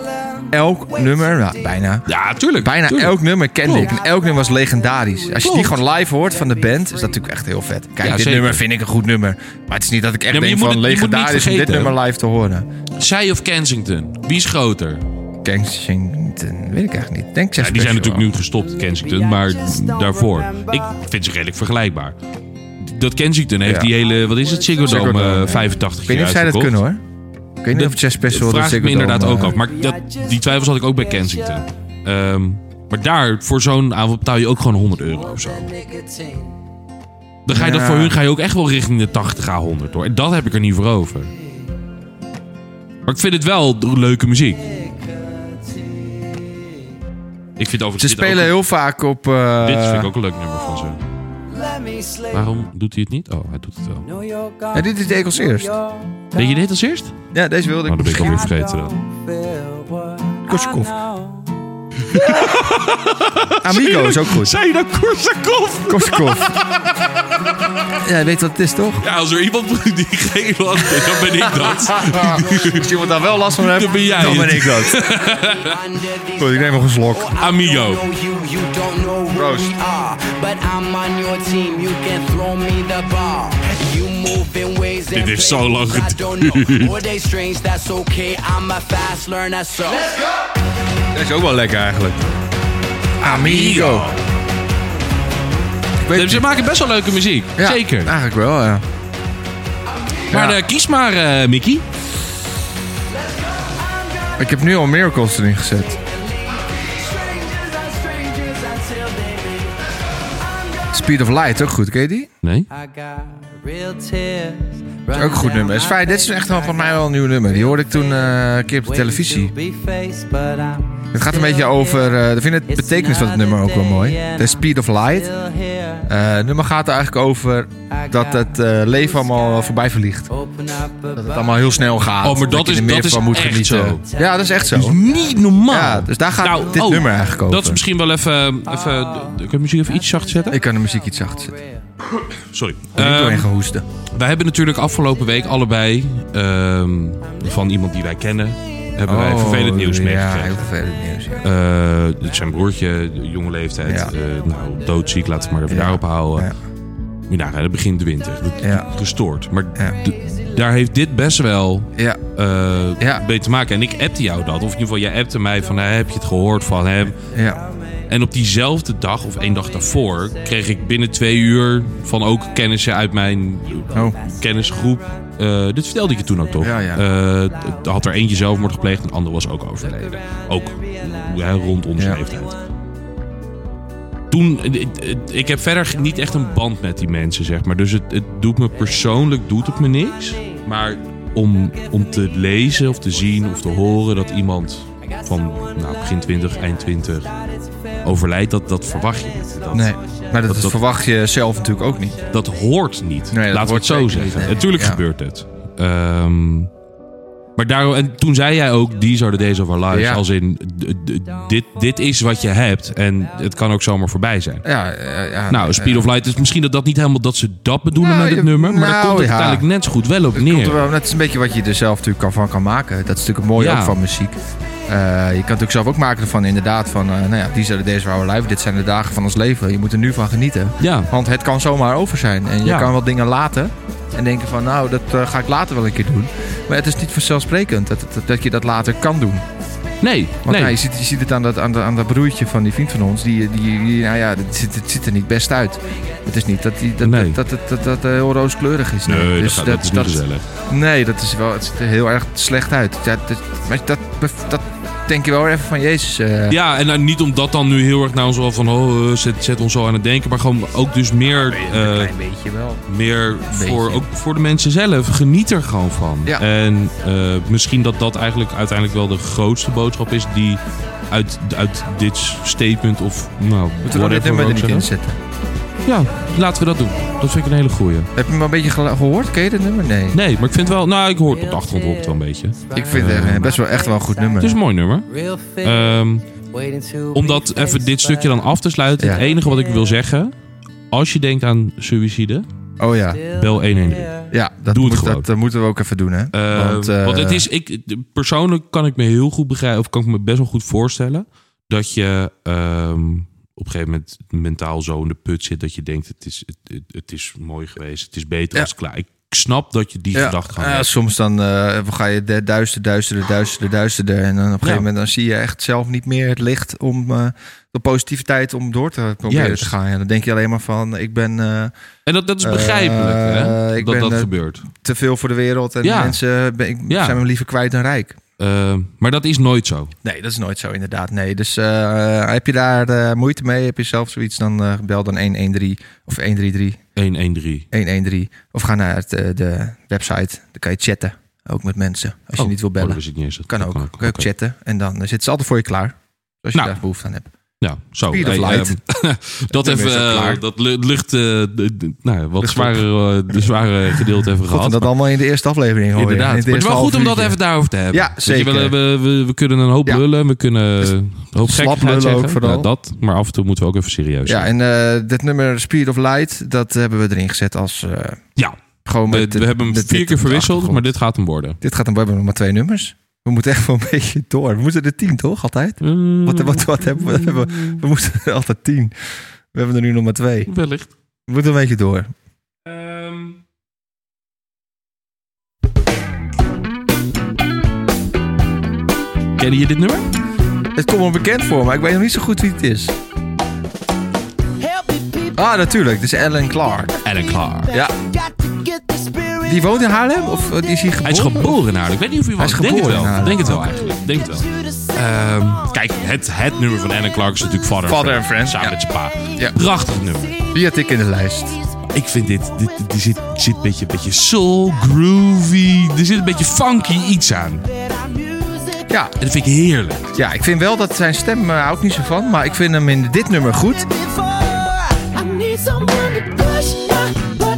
Elk nummer, nou, bijna.
Ja, tuurlijk.
Bijna
tuurlijk.
elk nummer kende ik.
Klopt.
En elk nummer was legendarisch. Als je die
Klopt.
gewoon live hoort van de band, is dat natuurlijk echt heel vet. Kijk,
Ja,
dit
zeker.
nummer vind ik een goed nummer. Maar het is niet dat ik echt
Ja, maar je
denk
moet
van
het- je moet niet
legendarisch om dit
vergeten.
nummer live te horen.
Zij of Kensington? Wie is groter?
Kensington, weet ik eigenlijk niet. Denk
Ja, die zijn natuurlijk nu gestopt, Kensington, maar daarvoor. Ik vind ze redelijk vergelijkbaar. Dat Kensington heeft
Ja.
die hele, wat is het, Ziggo
Ziggo
Dome
Dome,
eh,
ja.
85
Ik weet niet
keer
of zij dat
uitverkocht.
kunnen hoor. Ik weet niet
Dat
of Chess Special
vraag ik me inderdaad ook
eh,
af. Maar dat, die twijfels had ik ook bij Kensington. Ehm, maar daar, voor zo'n avond betaal je ook gewoon 100 euro of zo. Dan ga je dat
Ja.
voor hun ga je ook echt wel richting de 80 à 100 hoor. En dat heb ik er niet voor over. Maar ik vind het wel d- leuke muziek. Ik vind overigens
Ze
dit ook
spelen
een-
heel vaak op. eh,
Dit vind ik ook een leuk nummer van ze.
Let me sleep.
Waarom doet hij het niet? Oh, hij doet het wel.
New York, gone.
Ja, dit is de Eagles eerst.
New York,
Deed je dit als eerst?
Ja, deze wilde ik.
Oh, dat ben ik alweer
I
vergeten.
don't
Dan.
feel what
Korsakoff.
I know.
Amigo is ook goed.
Zijn je nou Korsakov?
Korsakoff. ja, je weet wat het is toch?
Ja, als er iemand die geen land heeft, dan ben ik dat.
Als iemand daar wel last van hebt,
Dan ben jij het.
ik dat. Goed, ik neem nog een slok.
Amigo.
Proost.
Dit heeft zo lang
geduurd.
Dat is ook wel lekker eigenlijk. Amigo. Ik weet
Ze maken best wel leuke muziek.
Ja,
Zeker.
Eigenlijk wel, ja.
Maar
Ja.
eh, kies maar, eh, Mickey.
Ik heb nu al Miracles erin gezet. Speed of Light, ook goed, ken je die?
Nee.
I got real tears
Dat is ook een goed nummer. Dat is fijn, dit is echt wel voor mij wel een nieuw nummer. Die hoorde ik toen eh, een keer op de televisie. Het gaat een beetje over... eh ik vind het betekenis van het nummer ook wel mooi. The Speed of Light. Eh, het nummer gaat er eigenlijk over dat het eh, leven allemaal voorbij vliegt. Dat het allemaal heel snel gaat.
Oh, maar dat
je er
is-
meer
dat is
van moet
echt
genieten. Ja, dat is echt zo.
Niet normaal.
Ja, dus daar gaat dit
oh,
nummer eigenlijk over.
Dat is misschien wel even... eh, even kun je de muziek even iets zacht zetten?
Ik kan de muziek iets zacht zetten.
Sorry.
Ik ben doorheen
Ehm,
gaan hoesten.
wij hebben natuurlijk afgelopen week allebei... ehm, van iemand die wij kennen... hebben wij vervelend nieuws
Oh, ja,
meegekregen.
heel vervelend nieuws. ja.
Eh, zijn broertje, jonge leeftijd.
Ja.
eh, nou, doodziek, laten we maar even
Ja.
daarop houden.
Ja.
Ja, nou, dat begint de winter. Dat-
Ja.
Gestoord. Maar
Ja.
d- daar heeft dit best wel
Ja.
eh
Ja.
mee te maken. En ik appte jou dat. Of in ieder geval, jij appte mij van, "Hey, heb je het gehoord van hem?
ja.
En op diezelfde dag, of één dag daarvoor, kreeg ik binnen twee uur van ook kennissen uit mijn eh,
Oh.
kennisgroep. eh, dit vertelde ik je toen ook toch?
Ja, ja.
Eh, er had er eentje zelfmoord gepleegd en de andere was ook overleden. Ook ja, rond onze
Ja.
leeftijd. Toen, eh, eh, ik heb verder niet echt een band met die mensen, zeg maar. Dus het, het doet me persoonlijk, doet het me niks. Maar om, om te lezen of te zien of te horen dat iemand van nou, begin 20, eind 20 overlijdt, dat, dat verwacht je niet. Dat,
Nee, maar dat,
dat- dat-
verwacht je zelf natuurlijk ook niet.
dat hoort niet.
Nee,
Laten
dat
we
hoort
het zo
zeker
zeggen.
niet, nee.
Natuurlijk
Ja.
gebeurt het. Ehm, maar daarom, en toen zei jij ook, these are the days of our lives.
Ja.
Als in, d- d- dit, dit is wat je hebt en het kan ook zomaar voorbij zijn.
Ja, eh, ja,
Nou, Speed of Light is misschien dat dat niet helemaal dat ze dat bedoelen
Nou,
met het
je-
nummer. Maar daar
nou,
komt het
ja.
uiteindelijk net zo goed wel op
Het komt er
neer.
wel- het is een beetje wat je er zelf natuurlijk kan- van kan maken. Dat is natuurlijk het mooie
Ja.
ook van muziek. Eh, je kan natuurlijk zelf ook maken van inderdaad van... eh, nou ja, die zijn de days of our life. Dit zijn de dagen van ons leven. Je moet er nu van genieten.
Ja,
Want het kan zomaar over zijn. En je
Ja.
kan wel dingen laten. En denken van, nou, dat eh, ga ik later wel een keer doen. Maar het is niet vanzelfsprekend dat, dat, dat je dat later kan doen.
nee,
Want ja, je,
nee.
ziet, je ziet het aan dat, aan, dat, aan dat broertje van die vriend van ons. Die, die, die- nou ja, het ziet, het ziet er niet best uit. Het is niet dat die, dat,
Nee.
dat, dat, dat, dat, eh, heel rooskleurig is.
Nee, dat,
Dus
gaat- dat is niet gezellig.
Nee, dat is wel, het ziet er heel erg slecht uit. Ja, dat, maar dat, dat denk je wel even van, jezus. eh,
Ja, en nou, niet omdat dan nu heel erg nou zo van, oh, eh, zet, zet ons zo aan het denken. Maar gewoon ook dus meer...
een
eh,
klein beetje wel.
meer
Beetje.
voor, ook voor de mensen zelf. Geniet er gewoon van.
Ja.
En eh, misschien dat dat eigenlijk uiteindelijk wel de grootste boodschap is die uit, uit dit statement of nou,
Moeten we dan dit nummer er
ook
niet
zeggen.
in zetten?
Ja, laten we dat doen. Dat vind ik een hele goeie.
Heb je hem al een beetje gel- gehoord? Ken je dit nummer? Nee.
Nee, maar ik vind wel... Nou, ik hoor het op de achtergrond hoor ik het wel een beetje.
Ik vind het
Eh.
echt- best wel echt wel een goed nummer.
Het is een mooi nummer.
Real thing,
Ehm,
waiting to
om
be
dat even
faced
dit stukje
by
dan af te sluiten.
Ja.
Het enige wat ik wil zeggen... Als je denkt aan suïcide,
Oh ja.
bel 113.
Ja, dat,
Doe het
moet-
gewoon.
dat eh, moeten we ook even doen, hè?
Eh, want,
eh,
het is, ik, persoonlijk kan ik me heel goed begrijpen, of kan ik me best wel goed voorstellen, dat je ehm, op een gegeven moment mentaal zo in de put zit dat je denkt: het is, het, het, het is mooi geweest, het is beter
Ja.
als klaar. Ik snap dat je die
ja,
gedachte gaat
eh,
hebben.
soms dan eh, ga je de- duister, duisterder, duisterder, duisterder. En dan op een gegeven
Ja.
moment dan zie je echt zelf niet meer het licht om eh, de positiviteit om door te proberen
Juist.
te gaan. En dan denk je alleen maar van, ik ben eh,
En dat, dat is
eh,
begrijpelijk hè,
ik
dat
ben,
dat
eh,
gebeurt.
te veel voor de wereld en
Ja.
mensen eh, ben, ik,
Ja.
zijn me liever kwijt dan rijk.
Ehm, maar dat is nooit zo.
Nee, dat is nooit zo inderdaad. Nee, dus eh, heb je daar eh, moeite mee? Heb je zelf zoiets? Dan eh, bel dan 113 of 133.
113.
113. Of ga naar het, eh, de website. Dan kan je chatten. Ook met mensen. Als
Oh,
je niet wil
Oh,
bellen.
dat wist ik niet eens. Dat
kan ook. Kan ook
Oké.
chatten. En dan eh, zitten ze altijd voor je klaar. Als je
Nou.
daar behoefte aan hebt.
Ja, zo.
Speed of
Hey,
light.
ehm, dat
nummer
even,
is al
eh,
klaar.
dat lu- lucht, eh, de- de- nou, ja, wat
Lucht op.
zware, eh, de zware gedeelte even
God, en
gehad.
dat allemaal in de eerste aflevering hoor.
Inderdaad.
Oh, In
maar het is wel
eerste
goed om
half
dat
uurtje.
even daarover te hebben.
Ja,
Weet je wel,
zeker.
we, we, we kunnen een hoop
Ja.
lullen. We kunnen een hoop
slap
gekkigheid
lullen
zeggen.
ook vooral.
Ja, dat. Maar af en toe moeten we ook even serieus
Ja,
zijn.
en eh, dit nummer Speed of Light, dat hebben we erin gezet als eh,
Ja,
gewoon
we,
met
we hebben hem
met
vier
dit
keer
op de
verwisseld,
achtergrond.
maar dit gaat hem worden.
Dit gaat dan, we hebben nog maar twee nummers. We moeten echt wel een beetje door. We moeten er tien, toch? Altijd?
Eh,
Wat, wat, wat hebben we? We, hebben- we moeten er altijd tien. We hebben er nu nog maar twee.
Wellicht.
We moeten een beetje door.
Ehm, Kennen je dit nummer?
Mm-hmm. Het komt me bekend voor, maar ik weet nog niet zo goed wie het is. Ah, natuurlijk. Dit is Alan Clark.
Alan Clark.
Ja. Die woont in Haarlem? Of eh, die is hier geboren?
Hij is geboren in Haarlem. Ik weet niet of hij was.
is
Ik Denk het
geboren in
wel.
Haarlem.
Denk het wel eigenlijk. Denk het wel. Ehm, kijk, het, het nummer van Anne Clark is natuurlijk Father,
Father
and
and
Friends.
Friends,
Samen
ja.
met zijn pa.
Ja.
Prachtig nummer.
Die had ik in de lijst.
Ik vind dit, dit, dit- er zit, zit een beetje, beetje soul, groovy, er zit een beetje funky iets aan. En
Ja,
dat vind ik heerlijk.
ja ik vind wel dat zijn stem eh, hou ik niet zo van. Maar ik vind hem in dit nummer goed.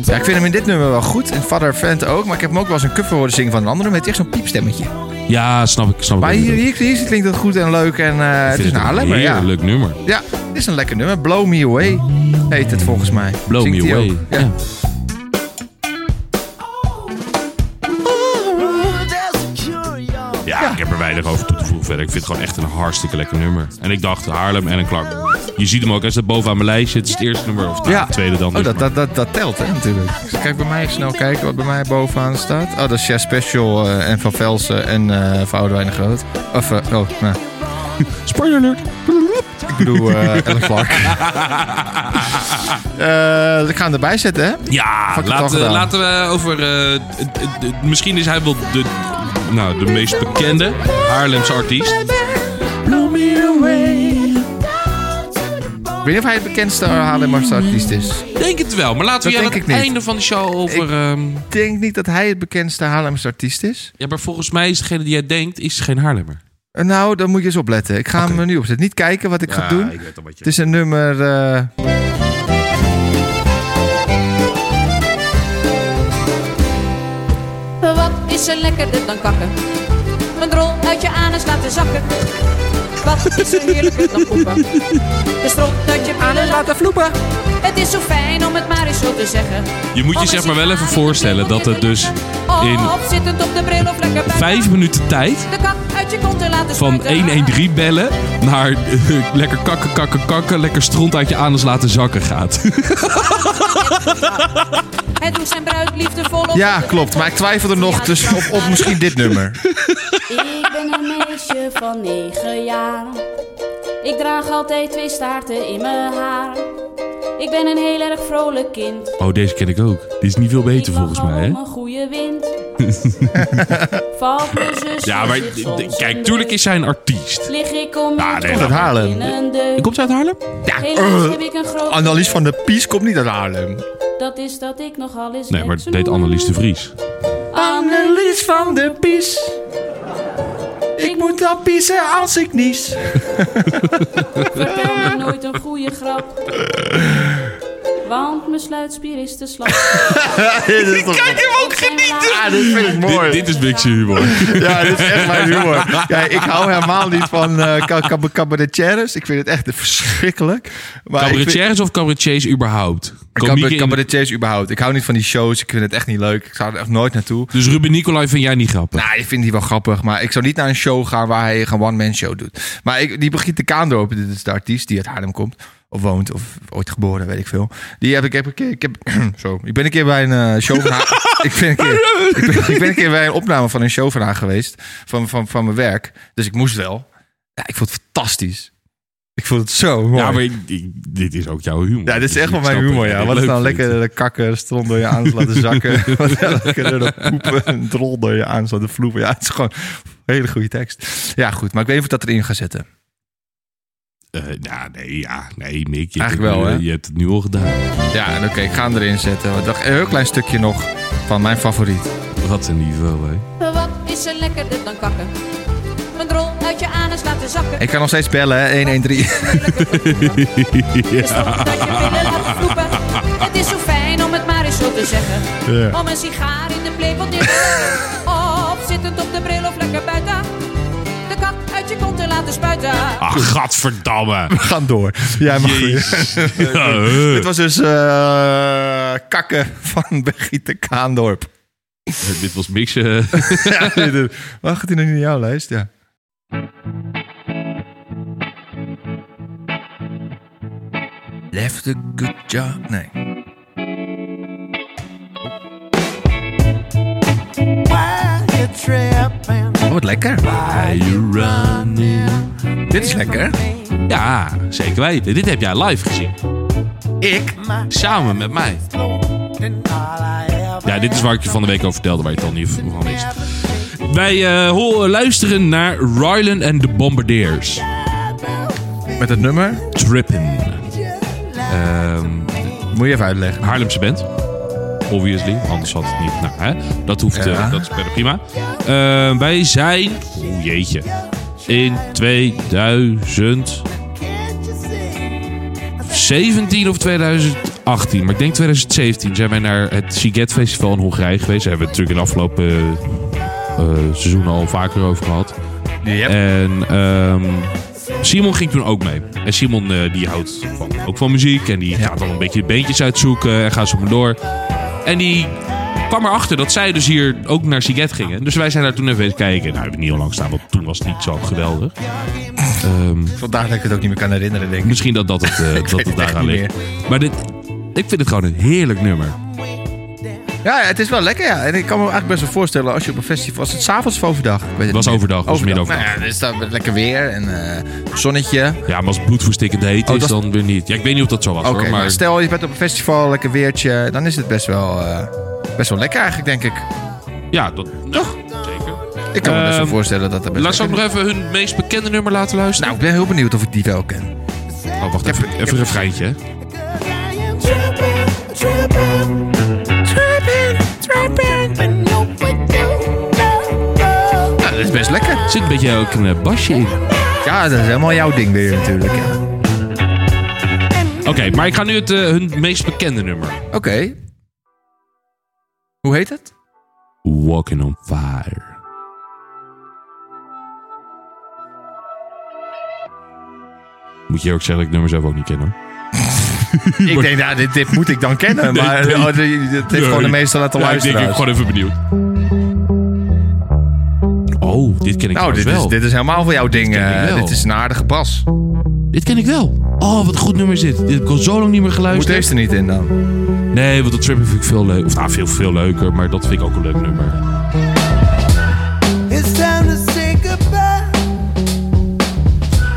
Ja, ik vind hem in dit nummer wel goed. En Father Friend ook. Maar ik heb hem ook wel eens een cover horen zingen van een andere. Met echt zo'n piepstemmetje.
Ja, snap ik. Snap ik
Maar
wat je
hier,
bedoelt.
hier, hier klinkt het goed en leuk. En eh,
Ik
het is
vind
een
het
Haarlemmer,
een
ja.
heerlijk nummer.
Ja, het is een lekker nummer. Blow Me Away heet het volgens mij.
Blow
Zingt
me
hij
away.
ook. Ja.
Ja. Ja, ik heb er weinig over toe te voegen verder. Ik vind het gewoon echt een hartstikke lekker nummer. En ik dacht Haarlem en een Clark. Je ziet hem ook, hij staat bovenaan mijn lijstje. Het is het eerste nummer, of nou,
Ja.
het tweede dan.
Oh,
dus,
dat,
maar-
dat, dat, dat telt hè, natuurlijk. Dus kijk bij mij even snel kijken wat bij mij bovenaan staat. Oh, dat is Chef Special eh, en Van Velsen en eh Van Oudewijn de Groot. Of, eh, oh, nou,
Spoiler alert.
ik bedoel eh Ellen Clark. Eh, ik ga hem erbij zetten, hè?
Ja,
Fuck it
laten,
al gedaan.
laten we over... eh, het- het- het- misschien is hij wel de, nou, de meest bekende Haarlemse artiest.
Ik weet niet of hij het bekendste Haarlemmerse artiest is.
Ik Denk het wel, maar laten we
Dat
hier aan
denk
het
ik niet.
einde van de show over... ehm,
Ik denk niet dat hij het bekendste Haarlemmerse artiest is.
ja, maar volgens mij is degene die jij denkt, is geen Haarlemmer.
Eh, nou, dan moet je eens opletten. Ik ga hem er nu opzetten. Niet kijken wat ik ga doen.
weet al wat je...
Het is een nummer. eh,
Wat is er lekkerder dan kakken? Een drol uit je anus laten zakken. Wat is er heerlijker dan poepen? De strop uit je anus laten vloepen. Het is zo fijn om het maar eens zo te zeggen.
Je
Oh,
moet je zeg maar wel even voorstellen dat het dus in
Op, zittend op de bril of lekker bij
vijf minuten tijd...
de kak uit je kont te laten
Van
spuiten.
113 bellen naar eh, lekker kakken, kakken, kakken, lekker stront uit je anus laten zakken gaat.
Het doet zijn bruid liefdevol op.
Ja, klopt. Maar ik twijfel er nog dus op, op misschien dit nummer.
Ik ben een meisje van 9 jaar. Ik draag altijd twee staarten in mijn haar. Ik ben een heel erg vrolijk kind.
Oh, deze ken ik ook. Die is niet veel beter
ik
volgens
lach al
mij, hè?
om een goede wind. Valt mijn zus
Ja, maar
zich
d- d-
soms een
kijk, tuurlijk is
deuk.
zij een artiest.
Lig ik om
Ah,
mijn
nee,
Uit
kop in
Haarlem.
een deuk.
Komt ze uit Haarlem?
Ja,
Helaas
eh,
heb ik een groot...
Annelies van de Pies komt niet uit Haarlem.
Dat is dat ik nogal eens
Nee, maar
leks
dat deed
noem.
Annelies de Vries.
Annelies van de Pies. Ik moet al piezen als ik nies.
Vertel me nooit een goede grap. want mijn sluitspier is te slap.
Kijk hem ook
genieten!
Ja, dit vind ik mooi.
Dit, dit is Bixie humor.
Nou,
Ja, dit is echt mijn humor.
Ja, ik hou helemaal niet van eh ca- cab- cabaretières. Ik vind het echt verschrikkelijk. Maar ik vind-
Cabaretiers of cabaretiers überhaupt? Komieken
Cabaret-
in-
Cabaretiers überhaupt. Ik hou niet van die shows. Ik vind het echt niet leuk. Ik zou er echt nooit naartoe.
Dus Ruben Nicolai vind jij niet grappig?
Nou, ik vind die wel grappig. Maar ik zou niet naar een show gaan waar hij een one-man show doet. Maar ik, die Brigitte Kaandorp, dit is de artiest die uit Haarlem komt. Of woont, of ooit geboren, weet ik veel. Die heb ik, heb een keer, ik heb, zo, ik ben een keer bij een eh, show van haar. ik, ben een keer, ik, ben, ik ben een keer bij een opname van een show van haar geweest. Van, van, van mijn werk. Dus ik moest wel. Ja, ik vond het fantastisch. Ik vond het zo Nou, mooi.
ja, maar ik- ik- dit is ook jouw humor.
Ja, dit is
Dus
echt wel
ik
mijn
snap
humor,
dat
ja.
jij
Wat is
dit
dan
leuk vindt.
lekker de kakker stront door je aan te laten zakken? Wat is dan lekker de poepen en drol door je aan te laten vloepen? Ja, het is gewoon een hele goede tekst. Ja, goed. Maar ik weet niet of ik dat erin ga zetten.
Eh, nou, nee, ja, nee, Mick. Je,
Eigenlijk
hebt,
wel,
het nu- eh,
hè?
je hebt het nu al gedaan.
Ja, en oké, ik ga hem erin zetten. Want dat- Een heel klein stukje nog van mijn favoriet.
Wat een niveau, hè?
Wat is er lekkerder dan kakken? Een drol uit je anus laten zakken.
Ik kan nog steeds bellen, hè? 113.
Is toch dat je binnen laat vloepen? Het is zo fijn om het maar eens zo te zeggen. Om een sigaar in de playpot neer te leggen. Of zittend op de bril of lekker buiten. De kat uit je kont te laten spuiten.
Ah, gadverdamme.
We gaan door. Jij mag weer.
Jezus. Ja, eh.
Dit was dus eh, kakken van Brigitte Kaandorp.
Eh, Dit was mixen.
ja, dit is- Waarom gaat hij nog niet in jouw lijst? Ja. Left a good job. Nee. Oh, wat lekker. Dit is lekker.
Ja, zeker weten. Dit heb jij live gezien.
Ik?
Samen met mij. Ja, dit is waar ik je van de week over vertelde, waar je het al niet van wist. Wij eh, ho- luisteren naar Rylan en de Bombardiers.
Met het nummer?
Trippin. Ehm
Moet je even uitleggen.
Haarlemse band. Obviously, anders had het niet. Nou, hè? Dat hoeft, eh,
Ja.
dat is verder prima. Eh, wij zijn, oeh, jeetje, in 2017 of 2018, maar ik denk 2017 zijn wij naar het Siget Festival in Hongarije geweest. Daar hebben we het natuurlijk in de afgelopen eh, eh, seizoenen al vaker over gehad.
Yep.
En ehm, Simon ging toen ook mee. En Simon eh, die houdt van, ook van muziek. En die gaat dan een beetje de beentjes uitzoeken. En gaat zo maar door. En die kwam erachter dat zij dus hier ook naar Siget gingen. Dus wij zijn daar toen even eens kijken. Nou, hebben niet heel lang staan, want toen was het niet zo geweldig. Ehm,
Vandaag dat ik het ook niet meer kan herinneren, denk ik.
misschien dat dat het, eh, dat
weet
het
het
daaraan
echt niet
ligt. Maar dit, ik vind het gewoon een heerlijk nummer.
Ja, het is wel lekker, ja. En ik kan me eigenlijk best wel voorstellen als je op een festival... Was het s'avonds of overdag? Ik weet het
Was
niet meer.
overdag, was midoverdag.
Nou ja, dus dat met lekker weer en eh, zonnetje.
Ja, maar als het bloedverstikkend heet
Oh,
is,
dat is-
dan weer niet. Ja, ik weet niet of dat zo was
Oké,
hoor.
maar...
Maar,
stel je bent op een festival, lekker weertje, dan is het best wel, eh, best wel lekker eigenlijk, denk ik.
ja, dat, toch? Zeker.
Ik kan me best wel
Ehm,
voorstellen dat dat best
Laat ze ook
lekker
nog even hun meest bekende nummer laten
is.
luisteren.
Nou, ik ben heel benieuwd of ik die wel ken.
Oh, wacht even. Even een refreintje. hè.
Ja, dat is best lekker.
Er zit een beetje ook een eh, basje in. Oké,
Ja, dat is helemaal jouw ding weer natuurlijk, ja.
maar ik ga nu het, eh, hun meest bekende nummer.
Oké. Hoe heet het?
Walking on Fire. Moet je ook zeggen dat ik het nummer zelf ook niet ken hoor.
Ik denk, nou, dit, dit moet ik dan kennen,
Nee,
maar
nee.
oh, dit dit heeft gewoon de meeste laten
Ja, ik denk,
luisteren.
ik ben gewoon even benieuwd. Oh, dit ken ik
Nou,
trouwens
dit
wel.
is, dit is helemaal voor jouw ding.
ken ik
eh,
wel.
dit is een aardige bas.
Dit ken ik wel. Oh, wat een goed nummer is dit. Dit heb ik al zo lang niet meer
Moet
geluisterd.
deze er niet in dan?
Nee, want dat tripping vind ik veel leuker. Of nou, veel, veel leuker. Maar dat vind ik ook een leuk nummer.
It's time to say goodbye.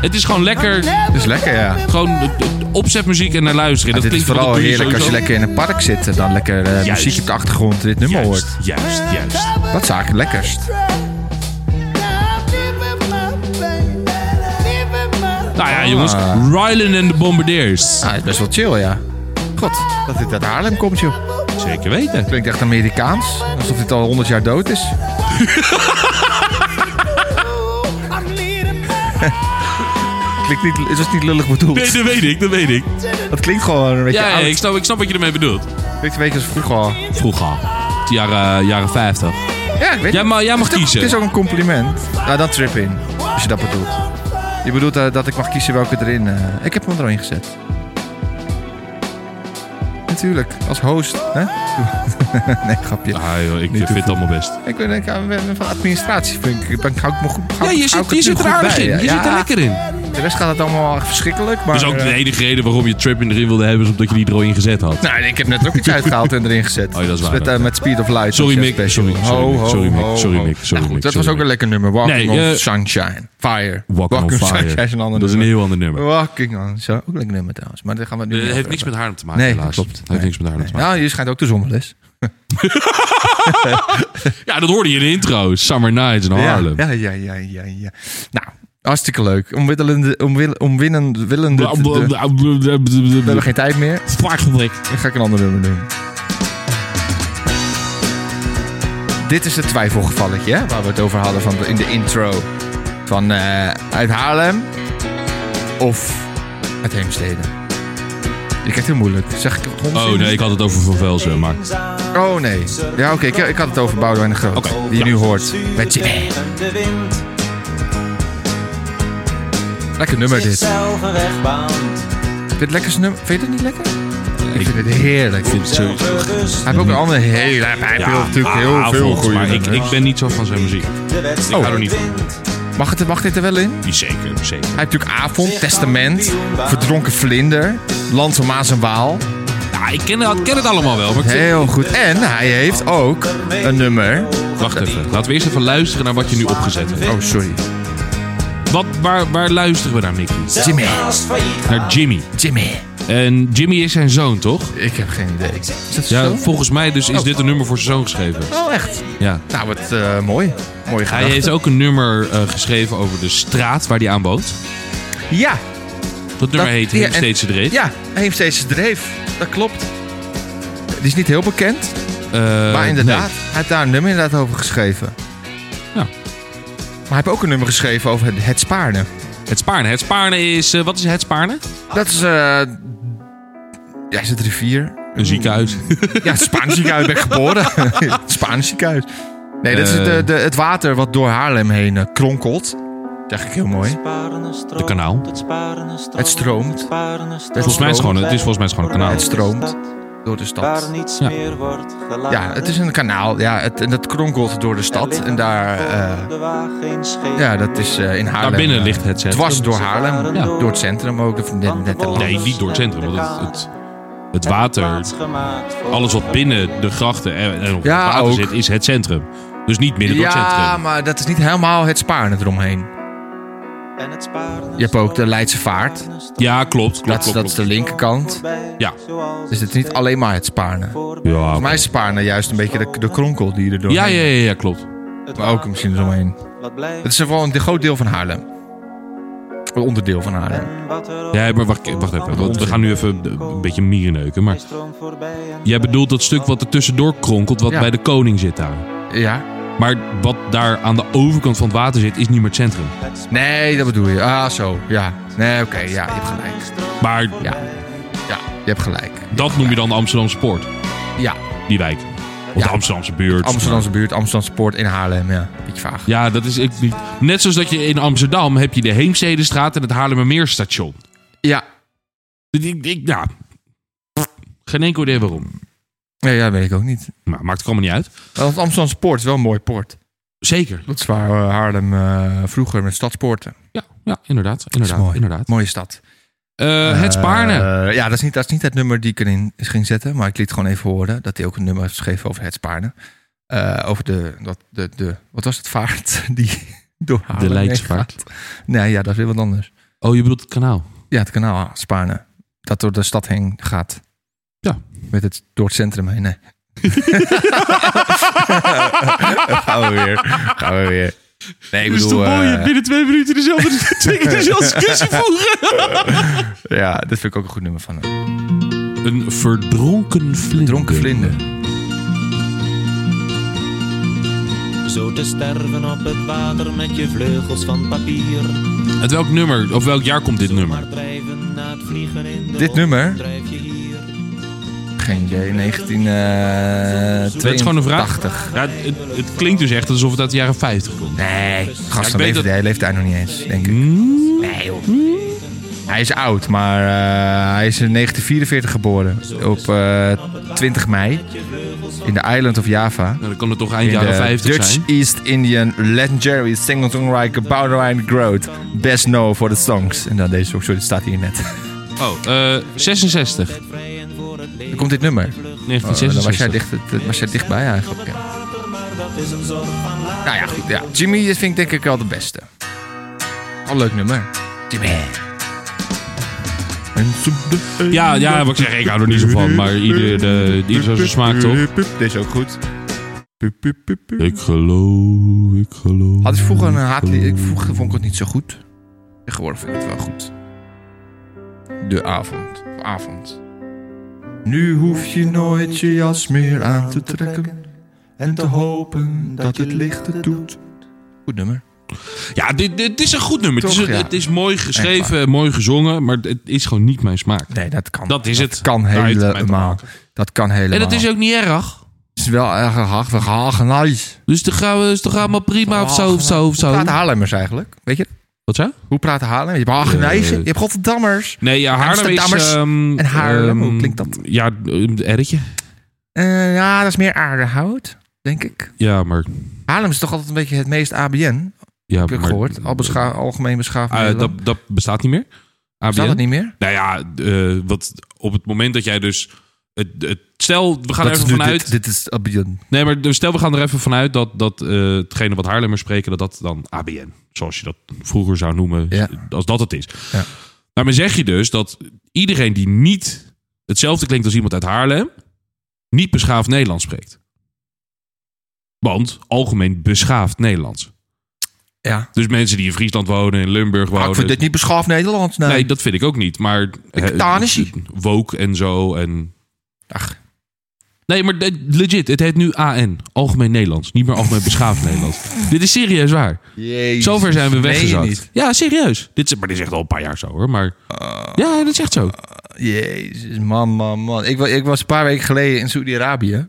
Het is gewoon lekker.
Dat is lekker, ja.
Gewoon eh, eh, opzetmuziek en naar luisteren.
dit
dat
is
klinkt
vooral
dat doe
heerlijk als je
sowieso.
lekker in een park zit en dan lekker eh, muziek op de achtergrond dit nummer hoort.
Juist, juist, juist.
Dat is eigenlijk het lekkerst.
Nou ja, jongens. Rylan en de Bombardiers.
Ah, het is best wel chill, ja. God, dat dit uit Haarlem komt, joh.
Zeker weten.
Klinkt echt Amerikaans. Alsof dit al 100 jaar dood is. klinkt niet, het was niet lullig bedoeld.
Nee, dat weet ik, dat weet ik.
Dat klinkt gewoon een beetje
Ja, ja,
oud.
ik, snap, ik snap wat je ermee bedoelt.
Klinkt een beetje als vroeger al.
Vroeger. De jaren, eh, jaren 50.
Ja, ik weet
Jij
het.
mag, jij mag
Het is ook- Het is
kiezen.
ook een compliment. Nou, dan trip in. Als je dat bedoelt. Je bedoelt eh, dat ik mag kiezen welke erin... eh, ik heb hem er al in gezet. Natuurlijk, als host. Hè? nee, grapje.
Ah, joh, ik
Niet
vind het
toevoegen.
allemaal best.
Ik ben, ik, eh, ben van administratie, vind ik. Ben, hou ik me goed,
Ja,
hou,
je
hou
zit,
ik het
je
nu
zit er
goed
aardig
bij,
in.
ja.
Je zit er
Ja,
lekker in.
De rest gaat het allemaal verschrikkelijk. Maar,
Dat is ook
eh,
de enige reden waarom je Trap in erin wilde hebben, is omdat je die er al in gezet had.
Nou, ik heb net ook iets uitgehaald en erin gezet.
Oh, dat is
Dus
waar,
Met, eh,
ja.
met Speed of Light.
Sorry,
was
Mick.
je special.
Sorry, sorry, Mick. Sorry, Mick. Sorry, Mick. Sorry,
Nou goed,
Mick.
dat was
Sorry,
ook een lekker nummer. Walking
Nee,
on
eh,
Sunshine. Fire.
Walking on Fire.
Sunshine is een ander
Dat is een
nummer. Oh.
heel ander nummer.
Walking on Sunshine. Ook een lekker nummer trouwens. Maar daar gaan we het nu
Eh,
niet
Het heeft
over
niks met
hebben.
Haarlem te maken,
Nee,
helaas.
klopt.
Het heeft niks met Haarlem te maken.
Nou, je schijnt ook de zonneles.
Ja, dat hoorde je in de intro. Summer Nights in Haarlem.
Ja, ja, ja, ja, ja. Nou, hartstikke leuk. Omwillende, omwil, omwinnend, willende. We hebben geen tijd meer. Dan ga ik een ander nummer doen. Dit is het twijfelgevalletje hè, waar we het over hadden van de- in de intro. Van eh, uit Haarlem of uit Heemstede. Je kijkt heel moeilijk. Zeg ik het
Oh nee, ik had het over Van Velzen, maar...
Oh nee. Ja, oké. ik, ik had het over Boudewijn de Groot.
Oké,
die
ja.
je nu hoort. Met je. eh,
De wind
Lekker nummer dit. Vind
zelf een wegbaand.
je het lekkerste nummer? Vind je het niet lekker? Ik vind het heerlijk.
Ik vind het sowieso-
Hij heeft ook een andere hele... Hij heeft
Ja,
natuurlijk heel Oh.
ah,
veel
volgens
goede
mij. ik, ik ben niet zo van zijn muziek.
De wedstrijd
Ik hou er niet van.
wint.
Mag, het, mag dit er wel in?
Die zeker, zeker.
Hij heeft natuurlijk Avond, Testament, Verdronken Vlinder, Land van Maas en Waal.
Ja, ik ken, het- ken het allemaal wel, maar ik vind-
Heel goed. En hij heeft ook een nummer.
Wacht even. Laten we eerst even luisteren naar wat je nu opgezet hebt.
Oh, sorry.
Wat, waar, waar luisteren we naar, Mickey?
Jimmy.
Naar Jimmy.
Jimmy.
En Jimmy is zijn zoon, toch?
Ik heb geen idee. Is dat
Ja,
zo?
volgens mij dus is dit een nummer voor zijn zoon geschreven.
Oh, echt?
Ja.
Nou, wat eh, mooi.
Hij
Mooi gedaan.
heeft ook een nummer eh, geschreven over de straat waar hij aan woont.
Ja.
Dat nummer heet
ja,
Heen
en-
Steeds de Dreef.
Ja, hij heeft steeds een dreef. Dat klopt. Die is niet heel bekend,
Eh,
maar inderdaad.
nee.
Hij heeft daar een nummer inderdaad over geschreven.
Ja.
Maar hij heeft ook een nummer geschreven over het, het spaarne.
Het Spaarne. Het Spaarne is... eh, wat is het Spaarne?
Dat is... eh ja, is het rivier?
Een ziekenhuis.
Ja, het Spaans ziekenhuis ben ik geboren. Het Spaans ziekenhuis. Nee, dat is het,
Eh.
eh, de, het water wat door Haarlem heen eh, kronkelt. Dat zeg ik heel mooi.
De kanaal.
Het stroomt.
Volgens mij is het gewoon, het is volgens mij is het gewoon een kanaal.
Het stroomt door de stad.
Ja.
Ja, het is een kanaal. Ja, het, en dat kronkelt door de stad. En daar... eh, ja, dat is eh, in Haarlem.
Daar binnen
eh,
ligt het centrum.
Dwars door Haarlem.
Ja.
Door het centrum ook. Of net, net te lang.
Nee, niet door het centrum. Want het, het, het water, alles wat binnen de grachten en, en op
Ja,
het water
ook.
zit, is het centrum. Dus niet midden door het
Ja,
centrum.
maar dat is niet helemaal het spaarne eromheen.
En het sparen
Je hebt ook de Leidse Vaart.
Ja, klopt. klopt,
Dat,
klopt,
dat is de
klopt.
linkerkant.
Ja.
Dus het is niet alleen maar het spaarne.
Ja,
Volgens mij is Spaarne juist een beetje de, de kronkel die er door.
ja, ja, ja, ja, klopt.
Maar ook misschien eromheen.
Wat blijft
Het is vooral een groot deel van Haarlem. Een onderdeel van Haarlem.
en wat er
Ja, maar wacht, wacht even. Want we gaan nu even een beetje mierenneuken. Maar
stroom voorbij en
jij bedoelt dat stuk wat er tussendoor kronkelt, wat
Ja.
bij de koning zit daar.
Ja?
Maar wat daar aan de overkant van het water zit, is niet meer het centrum.
Nee, dat bedoel je. Ah, zo. Ja. Nee, oké. ja, je hebt gelijk.
Maar
Ja. Ja, je hebt gelijk.
dat noem je dan de Amsterdamse Poort,
Ja.
die wijk. Of
Ja.
de Amsterdamse buurt.
Amsterdamse buurt, Amsterdamse poort in Haarlem. Ja, beetje vaag.
Ja, dat is ik niet. Net zoals dat je in Amsterdam heb je de Heemstedestraat en het Haarlemmermeerstation.
Ja.
Ik, ik, ik, ja. Geen enkel idee waarom.
Ja, ja, weet ik ook niet.
Maar maakt het allemaal niet uit.
Want Amsterdamse poort is wel een mooi poort.
Zeker.
Dat is waar eh, Haarlem eh, vroeger met stadspoorten.
Ja, ja inderdaad.
Dat is
inderdaad,
mooi.
inderdaad.
Mooie stad.
Eh, het Spaarne.
Eh, ja, dat is, niet, dat is niet het nummer die ik erin ging zetten. Maar ik liet gewoon even horen dat hij ook een nummer heeft geschreven over het Spaarne. Eh, over de, dat, de, de, wat was het, vaart die door Haarlem
Eh, De
heen
Leidsvaart.
gaat. Nee, ja, dat is weer wat anders.
Oh, je bedoelt het kanaal.
Ja, het kanaal Spaarne. Dat door de stad heen gaat.
Ja.
Met het, door het centrum heen, nee. gaan we weer. Gaan we weer. Nee, ik bedoel... eh,
binnen twee minuten dezelfde, twee keer dezelfde discussie voeren?
ja, dat vind ik ook een goed nummer van hem.
Een verdronken vlinder.
Dronken vlinder.
Zo te sterven op het water met je vleugels van papier.
Uit welk nummer, of welk jaar komt dit nummer?
Maar drijven na het vliegen in de
Dit
wolken
nummer?
drijf je hier.
Geen idee, eh, 1982.
Dat is gewoon een vraag. Ja, het, het klinkt dus echt alsof het uit de jaren 50 komt.
Nee, gast,
ik
dan
weet
leeft
dat- Hmm?
hij, hij leeft hij nog niet eens, denk ik. Nee, joh. Hij is oud, maar eh, hij is in 1944 geboren. Op eh, 20 mei. In de Island of Java.
Nou, dan kan het toch eind
In
jaren
de
50
Dutch
zijn.
East Indian Legendary Singer-songwriter Boudewijn Groot. Best known for the songs. En dan deze ook, sorry, die staat hier net.
Oh, eh, 66.
Dan komt dit nummer. Oh, dan was jij,
1966.
dicht, dat was jij dichtbij eigenlijk. ja. Nou ja, goed. Ja. Jimmy dat vind ik denk ik wel de beste. Al leuk nummer. Jimmy.
Ja, ja, wat ik zeg, ik hou er niet zo van, maar ieder, eh, de, ieder zijn smaak toch?
Deze ook goed.
Ik geloof, ik geloof.
Had ik vroeger een haatlied. Ik vroeger vond ik het niet zo goed. Tegenwoordig vind ik het wel goed. De avond. Of Avond. Nu hoef je nooit je jas meer aan te trekken. En te hopen dat het licht het doet. Goed nummer.
Ja, dit, dit is een goed nummer. het,
Toch,
is,
ja.
het is mooi
Echt
geschreven, mooi gezongen, maar het is gewoon niet mijn smaak.
Nee, dat kan.
Dat is het.
kan
Daar heeft het mij te
helemaal.
maken.
Dat kan helemaal.
En dat is ook niet erg.
Het is wel erg hachtig. Hagenhuis.
Dus dan gaan we, is toch allemaal prima of zo, of zo, of
Hoe
zo.
Oh, praten Haarlemmers eigenlijk? Weet je?
Wat zo?
Hoe praten Haarlemmers? Je hebt Hagenijzen, je hebt Rotterdammers.
Nee, ja, Haarlem is...
Amsterdammers
ehm,
en Haarlem,
ehm,
hoe klinkt dat?
Ja, een erretje.
Eh, ja, dat is meer aardehout, denk ik.
Ja, maar...
Haarlem is toch altijd een beetje het meest ABN,
Ja,
heb ik
maar-
gehoord. Al bescha- algemeen beschaafd.
Eh,
Nederland.
dat, dat bestaat niet meer. ABN?
Bestaat dat niet meer?
Nou ja, eh, wat, op het moment dat jij dus... Het, het, stel, we gaan
dat
er
is
even
nu
vanuit...
Dit, dit is ABN.
Nee, maar dus stel, we gaan er even vanuit dat, dat eh, hetgene wat Haarlemmers spreken, dat dat dan ABN, zoals je dat vroeger zou noemen,
Ja.
als dat het is.
Ja.
Daarmee zeg je dus dat iedereen die niet hetzelfde klinkt als iemand uit Haarlem, niet beschaafd Nederlands spreekt. Want algemeen beschaafd Nederlands.
Ja.
Dus mensen die in Friesland wonen, in Limburg
Ah,
wonen.
ik vind dit niet beschaafd Nederlands. Nee.
Nee, dat vind ik ook niet. Maar
Ik tanisie.
woke en zo en.
Ach.
Nee, maar de- legit, het heet nu AN, Algemeen Nederlands, niet meer Algemeen Beschaafd Nederlands. Dit is serieus waar.
Jezus,
Zover zijn we
meen je
weggezakt.
niet.
Ja, serieus. Dit is, maar dit is echt al een paar jaar zo hoor. Maar
Oh.
ja, dat is echt zo.
Jezus, man, man, man. Ik, wa- ik was een paar weken geleden in Saudi-Arabië.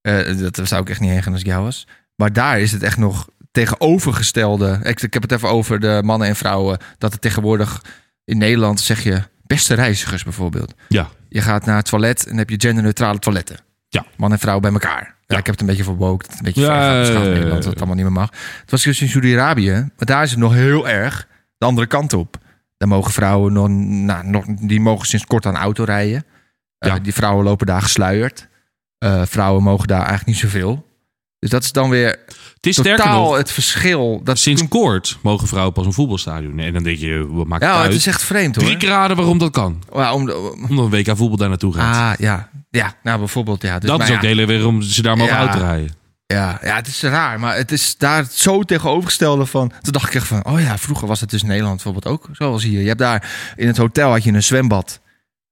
Eh, dat daar zou ik echt niet heen gaan als ik jou was. Maar daar is het echt nog tegenovergestelde. Ik, ik heb het even over de mannen en vrouwen. Dat het tegenwoordig in Nederland zeg je beste reizigers bijvoorbeeld.
Ja.
Je gaat naar het toilet en heb je genderneutrale toiletten.
Ja.
Man en vrouw bij elkaar. Ja. ik heb het een beetje verbookt. Het is Een beetje
Ja,
ver gaat beschaafd
ja, ja,
Nederland,
ja.
dat het allemaal niet meer mag. Het was dus in Saudi-Arabië. Maar daar is het nog heel erg de andere kant op. Daar mogen vrouwen nog, nou, nog die mogen sinds kort aan auto rijden. Eh,
Ja.
die vrouwen lopen daar gesluierd. Eh, vrouwen mogen daar eigenlijk niet zoveel. Dus dat is dan weer
Het is sterker
totaal
nog,
het verschil. Dat
sinds
toen-
kort mogen vrouwen pas een voetbalstadion. En dan denk je, wat maakt het
ja, het
uit?
is echt vreemd hoor.
Drie keer raden waarom dat kan.
Ja, om de-
Omdat een WK voetbal daar naartoe gaat.
ah, ja. Ja, nou bijvoorbeeld. Ja, dus,
dat
maar
is ook
ja,
de hele reden waarom ze daar mogen
Ja.
uitrijden.
Ja, ja, het is raar, maar het is daar zo tegenovergestelde van. Toen dacht ik echt van, oh ja, vroeger was het dus in Nederland bijvoorbeeld ook. Zoals hier. Je hebt daar in het hotel had je een zwembad.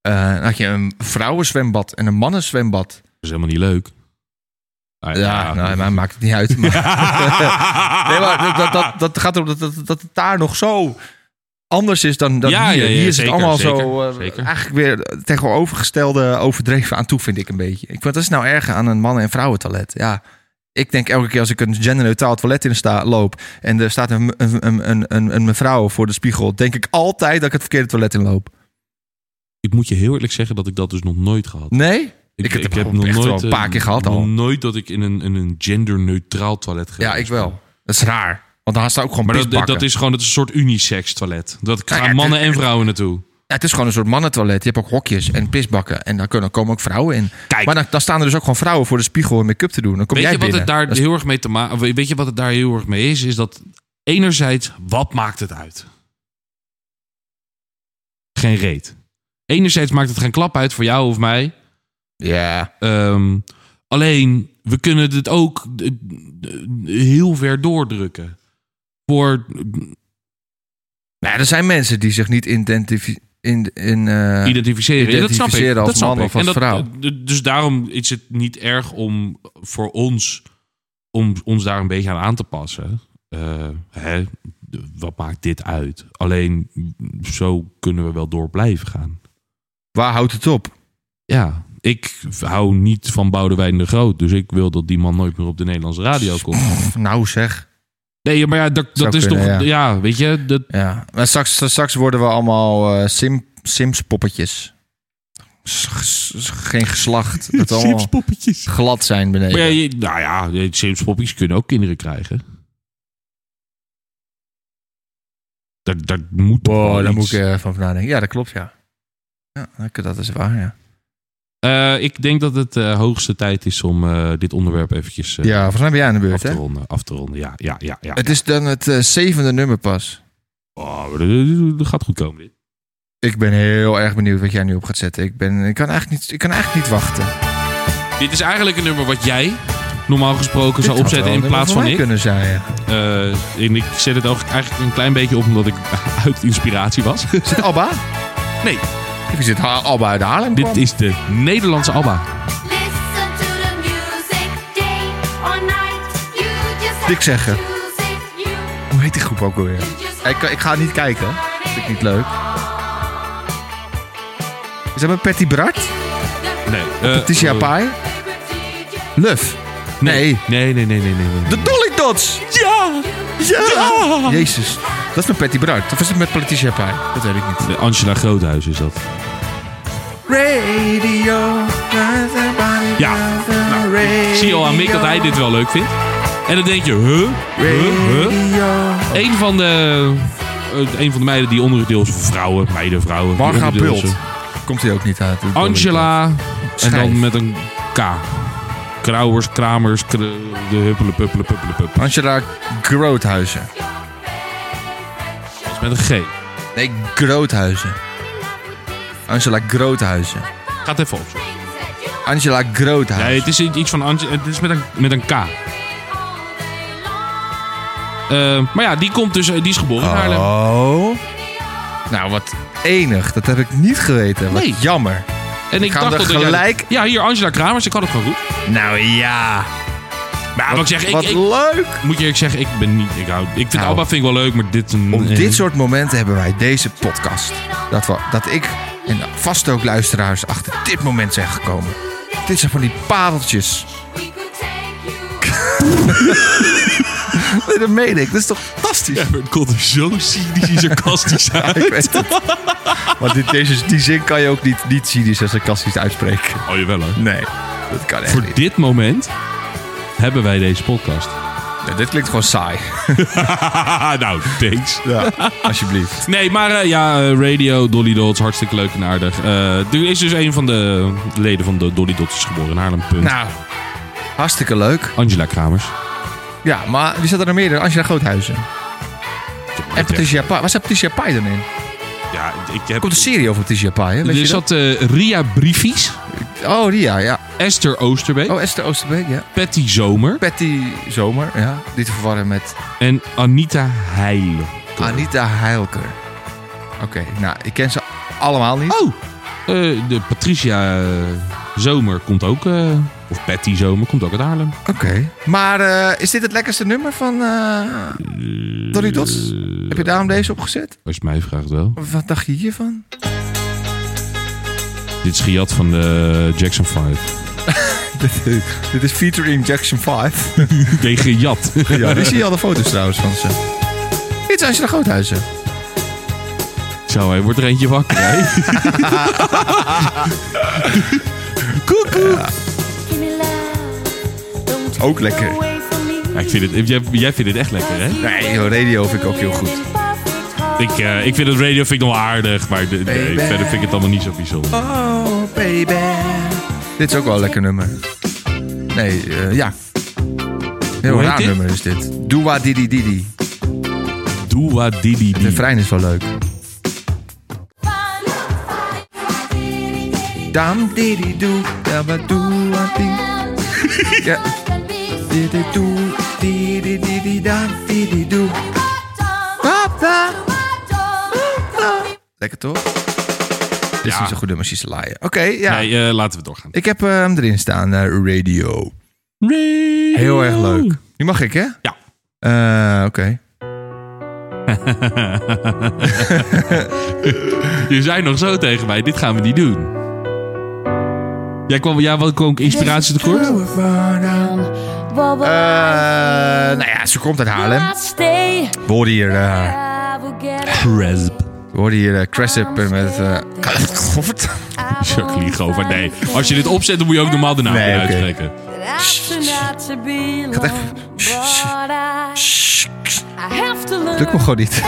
Eh, had je een vrouwenzwembad en een mannenzwembad.
Dat is helemaal niet leuk. Ah,
Ja, nou, maar maakt het niet uit. Maar, nee, maar dat, dat, dat gaat erom dat, dat, dat het daar nog zo anders is dan, dan
Ja,
hier.
ja, ja,
hier is
zeker,
het allemaal
zeker,
zo eh,
zeker.
eigenlijk weer tegenovergestelde overdreven aan toe, vind ik een beetje. Ik vind dat is nou erger aan een mannen- en vrouwentoilet. Ja, ik denk elke keer als ik een genderneutraal toilet in sta, loop en er staat een, een, een, een, een, een mevrouw voor de spiegel, denk ik altijd dat ik het verkeerde toilet in loop.
Ik moet je heel eerlijk zeggen dat ik dat dus nog nooit gehad heb.
Nee? Ik heb het echt wel een
eh,
paar keer gehad
nog
al.
nooit dat ik in een, in een genderneutraal toilet geweest
Ja, ik
ben.
wel. Dat is raar. Want dan staat ook gewoon
Maar dat,
pisbakken.
dat is gewoon dat is een soort unisex toilet. Dat
Nou
gaan
ja,
mannen
het-
en vrouwen naartoe.
Ja, het is gewoon een soort mannentoilet. Je hebt ook hokjes en pisbakken. En daar kunnen, komen ook vrouwen in.
Kijk.
Maar dan, dan staan er dus ook gewoon vrouwen voor de spiegel en make-up te doen. Dan kom
Weet
jij
je wat
binnen.
het daar
Dat is-
heel erg mee te maken? Weet je wat het daar heel erg mee is? Is dat enerzijds, wat maakt het uit? Geen reet. Enerzijds maakt het geen klap uit voor jou of mij.
Ja.
Ehm, alleen, we kunnen dit ook eh, eh, heel ver doordrukken. Voor,
Nou, er zijn mensen die zich niet identificeren. In, in, eh,
identificeren. Ja, dat snap ik.
identificeren als
dat snap
man
ik.
of als
En dat-
vrouw.
d- Dus daarom is het niet erg om voor ons om ons daar een beetje aan aan te passen. Eh, hè, de- wat maakt dit uit? Alleen mm, zo kunnen we wel door blijven gaan.
Waar houdt het op?
Ja, ik hou niet van Boudewijn de Groot. Dus ik wil dat die man nooit meer op de Nederlandse radio komt.
Pff, nou zeg.
Nee, maar ja, dat, dat
Zou
is toch...
kunnen, ja.
Ja. weet je... Dat,
Ja. Maar straks, straks worden we allemaal eh, sim, Sims poppetjes. S- s- Geen geslacht. Dat allemaal
Sims-poppetjes.
glad zijn beneden.
Maar ja, je- nou ja, de Sims-poppies kunnen ook kinderen krijgen. Dat, dat moet toch wel
Wow, daar
iets.
moet ik eh, van nadenken. Ja, dat klopt, ja. Ja, dat- dat is waar, ja.
Eh, ik denk dat het eh, hoogste tijd is om eh, dit onderwerp eventjes eh,
Ja, volgens mij ben jij aan de
af,
beurt,
te
hè?
ronden, af te ronden. Ja, ja, ja. ja.
Het is dan het eh, zevende nummer pas.
Oh, dat- dat gaat goed komen dit.
Ik ben heel erg benieuwd wat jij nu op gaat zetten. Ik, ben, ik, kan, eigenlijk niet, ik kan eigenlijk niet wachten.
Dit is eigenlijk een nummer wat jij normaal gesproken
Dit
zou
had wel
opzetten in
een nummer
plaats van
voor mij
ik.
kunnen zijn, ja.
Eh, en ik zet het ook eigenlijk een klein beetje op omdat ik uit inspiratie was.
Is dit Abba?
Nee,
Ik zit Ha- Abba uit Haarlem.
dit
kwam.
is de Nederlandse ABBA.
Listen to the music day or night. You just
Ik zeg het.
have to choose it. You
Hoe heet die groep ook alweer?
just
Ik, ik ga niet kijken. Vind ik niet leuk. Is dat met Patty Bart?
Nee. eh,
Tisha
eh,
Pai? Luf?
Nee.
Nee.
Nee, nee, nee, nee, nee. nee.
De Dolly Dots!
Ja! Ja!
Jezus. Dat is met Patty Bart. Of is het met Patricia Pai? Dat weet ik niet.
De Angela Groothuis is dat.
Radio.
Ja. Nou, ik zie al aan Mick dat hij dit wel leuk vindt. En dan denk je, huh? Huh? Huh? Een van de... eh, Een van de meiden die onderdeel is vrouwen, meiden, vrouwen. die
Marga
onderdeel is, eh,
Pult. Komt hij ook niet uit. de Dolly
Angela. En
Schijf.
dan met een K. Krauwers, Kramers, kr- de huppelen, puppelen, puppelen, puppelen.
Angela Groothuizen.
Dat is Met een G.
Nee, Groothuizen. Angela Groothuizen.
Gaat even op.
Angela Groothuizen.
Nee, het is iets van Ange- Het is met een, met een K. Eh, maar ja, die komt dus, eh, die is geboren in Haarlem.
Oh. Nou, wat enig. Dat heb ik niet geweten. Wat
Nee.
jammer.
en
ik ga er
jij-
gelijk-
ja, hier Angela Kramers, ik had het gewoon goed.
Nou ja.
Maar wat, ik zeg, ik,
wat
ik-
leuk.
moet je eerlijk zeggen, ik ben niet. Ik, hou, ik vind
Nou.
Alba vind ik wel leuk, maar dit.
Om
eh,
dit soort momenten hebben wij deze podcast. Dat, we, dat ik en vast ook luisteraars achter dit moment zijn gekomen. Dit zijn van die pareltjes.
we could take you.
Nee, dat meen ik. Dat is toch fantastisch?
Ja, maar het komt er zo cynisch en sarcastisch uit.
Ik weet het. Want dit, deze, die zin kan je ook niet, niet cynisch en sarcastisch uitspreken.
Oh, jawel hoor.
Nee, dat kan echt
Voor
niet.
dit moment hebben wij deze podcast.
Ja, dit klinkt gewoon saai.
nou, thanks.
Ja, alsjeblieft.
Nee, maar eh, ja, eh, radio, Dolly Dots, hartstikke leuk en aardig. Eh, er is dus een van de leden van de Dolly Dots is geboren in Haarlem. Punt.
Nou, hartstikke leuk.
Angela Kramers.
Ja, maar wie zat er nog meer dan? Angela Groothuizen. En Patricia Pai. Waar zat Patricia Pai dan in? Er
Ja, ik heb...
komt een serie over Patricia Pai, hè? Weet
er
je dat?
zat eh, Ria Briefies,
Oh, die ja, ja.
Esther Oosterbeek,
Oh, Esther Oosterbeek, ja.
Patty Zomer
Patty Zomer, ja. Die te verwarren met
en Anita Heijlen.
Anita Heilker. Oké, nou, ik ken ze allemaal niet.
Oh, eh, de Patricia eh, Zomer komt ook, eh, of Patty Zomer komt ook uit Haarlem.
Oké. Maar eh, is dit het lekkerste nummer van eh Dolly Dots?
Eh,
Heb je daarom deze opgezet?
Als je het mij vraagt wel.
Wat dacht je hiervan?
Dit is gejat van de Jackson 5.
dit is featuring Jackson 5.
Nee, gejat.
ja, die zie je al de foto's trouwens van ze. Dit zijn ze de Groothuizen.
Zo, hij wordt er eentje wakker, hè? Koekoek.
Ook lekker.
Ja, ik vind het, jij, jij vindt het echt lekker, hè?
Nee, joh, radio vind ik ook heel goed.
Ik, eh, ik vind het radio vind ik nog wel aardig, maar de- nee, verder vind ik het allemaal niet zo bijzonder.
Oh, baby. Dit is ook wel een lekker nummer. Nee, eh, ja. Heel
Hoe heet
raar
dit?
nummer is dit. Doa Didi Didi.
Doa didi
De
di.
refrein is wel leuk. Dam didi doe, dam ba doe, wa di. Ja. Didi doe, didi didi dam didi doe. Papa. Lekker toch? Dit is
Ja.
niet zo goed nummer, ze laaien. Oké, ja. ehm,
Nee, eh, laten we doorgaan.
Ik heb eh, hem erin staan, eh, radio. Heel erg leuk. Die mag ik, hè?
Ja.
Eh, Oké.
Je zei nog zo tegen mij, dit gaan we niet doen. Jij kwam, jij wat kwam inspiratie tekort?
Wobble,
Eh, nou ja, ze komt uit Haarlem.
stay.
We hoorden hier, eh
I will get
we hoorden hier eh, Cressip met... eh Goffert.
Jacqueline Gover, nee. Als je dit opzet, dan moet je ook normaal de naam
Nee,
weer
oké.
uitspreken.
Ik
had echt-
Het
Lukt me gewoon niet.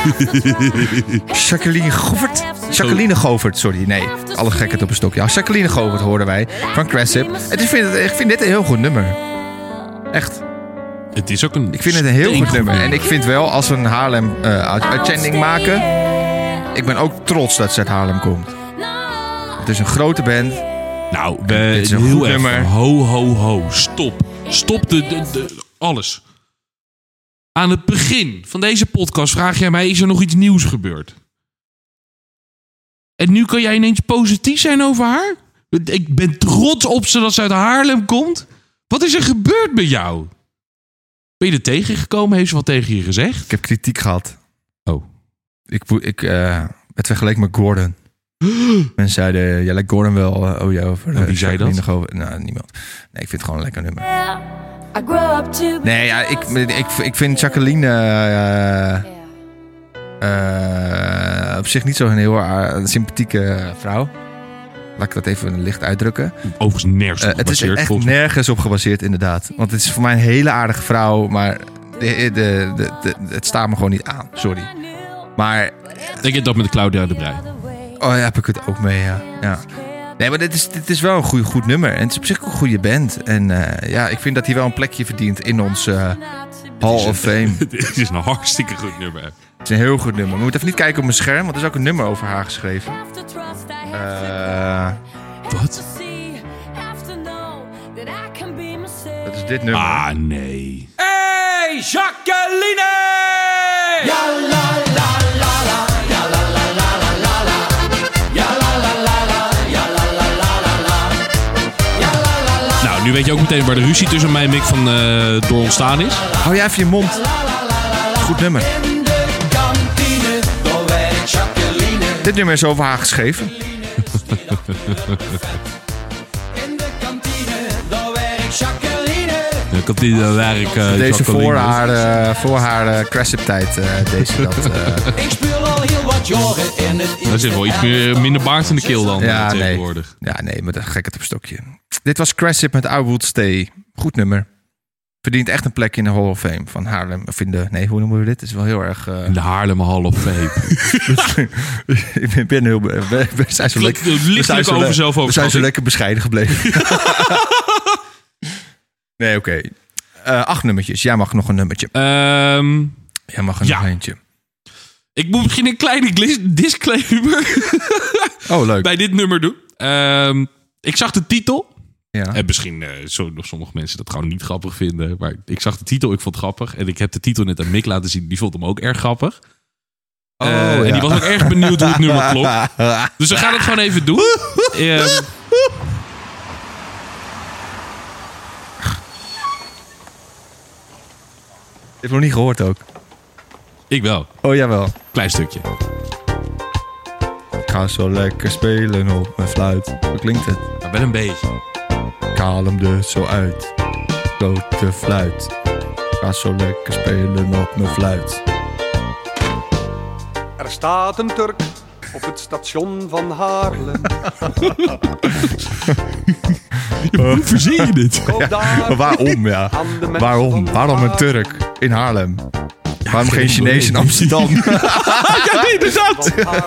Jacqueline Govert. Jacqueline Govert, sorry. Nee, alle gekheid op een stokje. Ja, Jacqueline Govert hoorden wij van Cressip. Het is- Ik vind, het- ik vind dit een heel goed nummer. Echt.
Het is ook een...
Ik vind het een heel goed
steengoed
nummer. En ik vind wel, als we een Haarlem eh uitzending maken... Ik ben ook trots dat ze uit Haarlem komt. Het is een grote band.
Nou, we,
Dit is een
heel
goed
erg.
nummer.
Ho, ho, ho. Stop. Stop de, de, de- alles. Aan het begin van deze podcast vraag jij mij: is er nog iets nieuws gebeurd? En nu kan jij ineens positief zijn over haar? Ik ben trots op ze dat ze uit Haarlem komt. Wat is er gebeurd met jou? Ben je er tegengekomen? Heeft ze wat tegen je gezegd?
Ik heb kritiek gehad.
Oh.
Ik, wo- ik eh, werd vergeleken met Gordon. Mensen zeiden, jij lijkt Gordon wel. eh, oh ja, over,
En wie
eh,
zei
Jacqueline
dat?
Govert. Nou, niemand. Nee, ik vind het gewoon een lekker nummer.
I grow up to be
Nee, ja, ik, ik, ik vind Jacqueline eh, eh, op zich niet zo'n heel eh, sympathieke vrouw. Laat ik dat even licht uitdrukken.
Overigens nergens
Eh,
op
het is
gebaseerd.
echt
volgens mij.
nergens op gebaseerd, inderdaad. Want het is voor mij een hele aardige vrouw, maar de, de, de, de- het staat me gewoon niet aan. Sorry. Maar
Ik heb dat met Claudia de Brij.
Oh ja, heb ik het ook mee, ja. ja. Nee, maar dit is, dit is wel een goeie, goed nummer. En het is op zich ook een goede band. En eh, ja, ik vind dat hij wel een plekje verdient in ons eh, Hall of Fame.
Dit is een hartstikke goed nummer.
Het is een heel goed nummer. We moeten even niet kijken op mijn scherm, want er is ook een nummer over haar geschreven. Eh,
Wat?
dat is dit nummer.
Ah, nee. Nou, nu weet je ook meteen waar de ruzie tussen mij en Mick van eh, door ontstaan is.
Hou jij even je mond. Goed nummer. Dit nummer is over haar geschreven.
Ik had die eh, waar ik... eh,
Deze
Jacqueline-
voor haar, eh, voor haar eh, crash-up-tijd. eh, deze dat. eh,
Daar zit wel iets meer, eh, minder baard in de keel dan eh, tegenwoordig.
Nee. Ja, nee, maar dat gekheid op een stokje. Dit was Cressip met I Would Stay. Goed nummer. Verdient echt een plek in de Hall of Fame van Haarlem. Of in de, nee, hoe noemen we dit? Het is wel heel erg... eh,
In de Haarlem Hall of Fame.
ik ben- ben heel... be- We, we zijn zo
Klinkt
lekker... we
lichtelijk
zijn zo
over
le- We zijn
zelfoverschatting.
zo lekker bescheiden gebleven. nee, oké. Eh, acht nummertjes. Jij mag nog een nummertje.
Ehm,
Jij mag er
Ja.
nog eentje.
ik moet misschien een kleine glis- disclaimer
Oh, leuk.
bij dit nummer doen. Ehm, ik zag de titel.
Ja.
En misschien eh, zullen nog sommige mensen dat gewoon niet grappig vinden. Maar ik zag de titel, ik vond het grappig. En ik heb de titel net aan Mick laten zien. Die vond hem ook erg grappig.
Oh,
Eh, En
ja.
die was ook erg benieuwd hoe het nummer klopt. Dus we gaan het gewoon even doen. Ehm,
Ik heb nog niet gehoord ook.
ik wel.
Oh, jawel.
Klein stukje.
Ik ga zo lekker spelen op mijn fluit. Hoe klinkt het?
Maar wel een beetje.
Ik haal hem er zo uit. Grote fluit. Ik ga zo lekker spelen op mijn fluit.
Er staat een Turk op het station van Haarlem.
Hoe verzin je dit?
Koop daar
Maar waarom, ja?
aan de mensen
Waarom?
van
Waarom een
Haarlem.
Turk in Haarlem? Waarom geen
geen
Chinees in
idee.
Amsterdam?
Van Haarlem.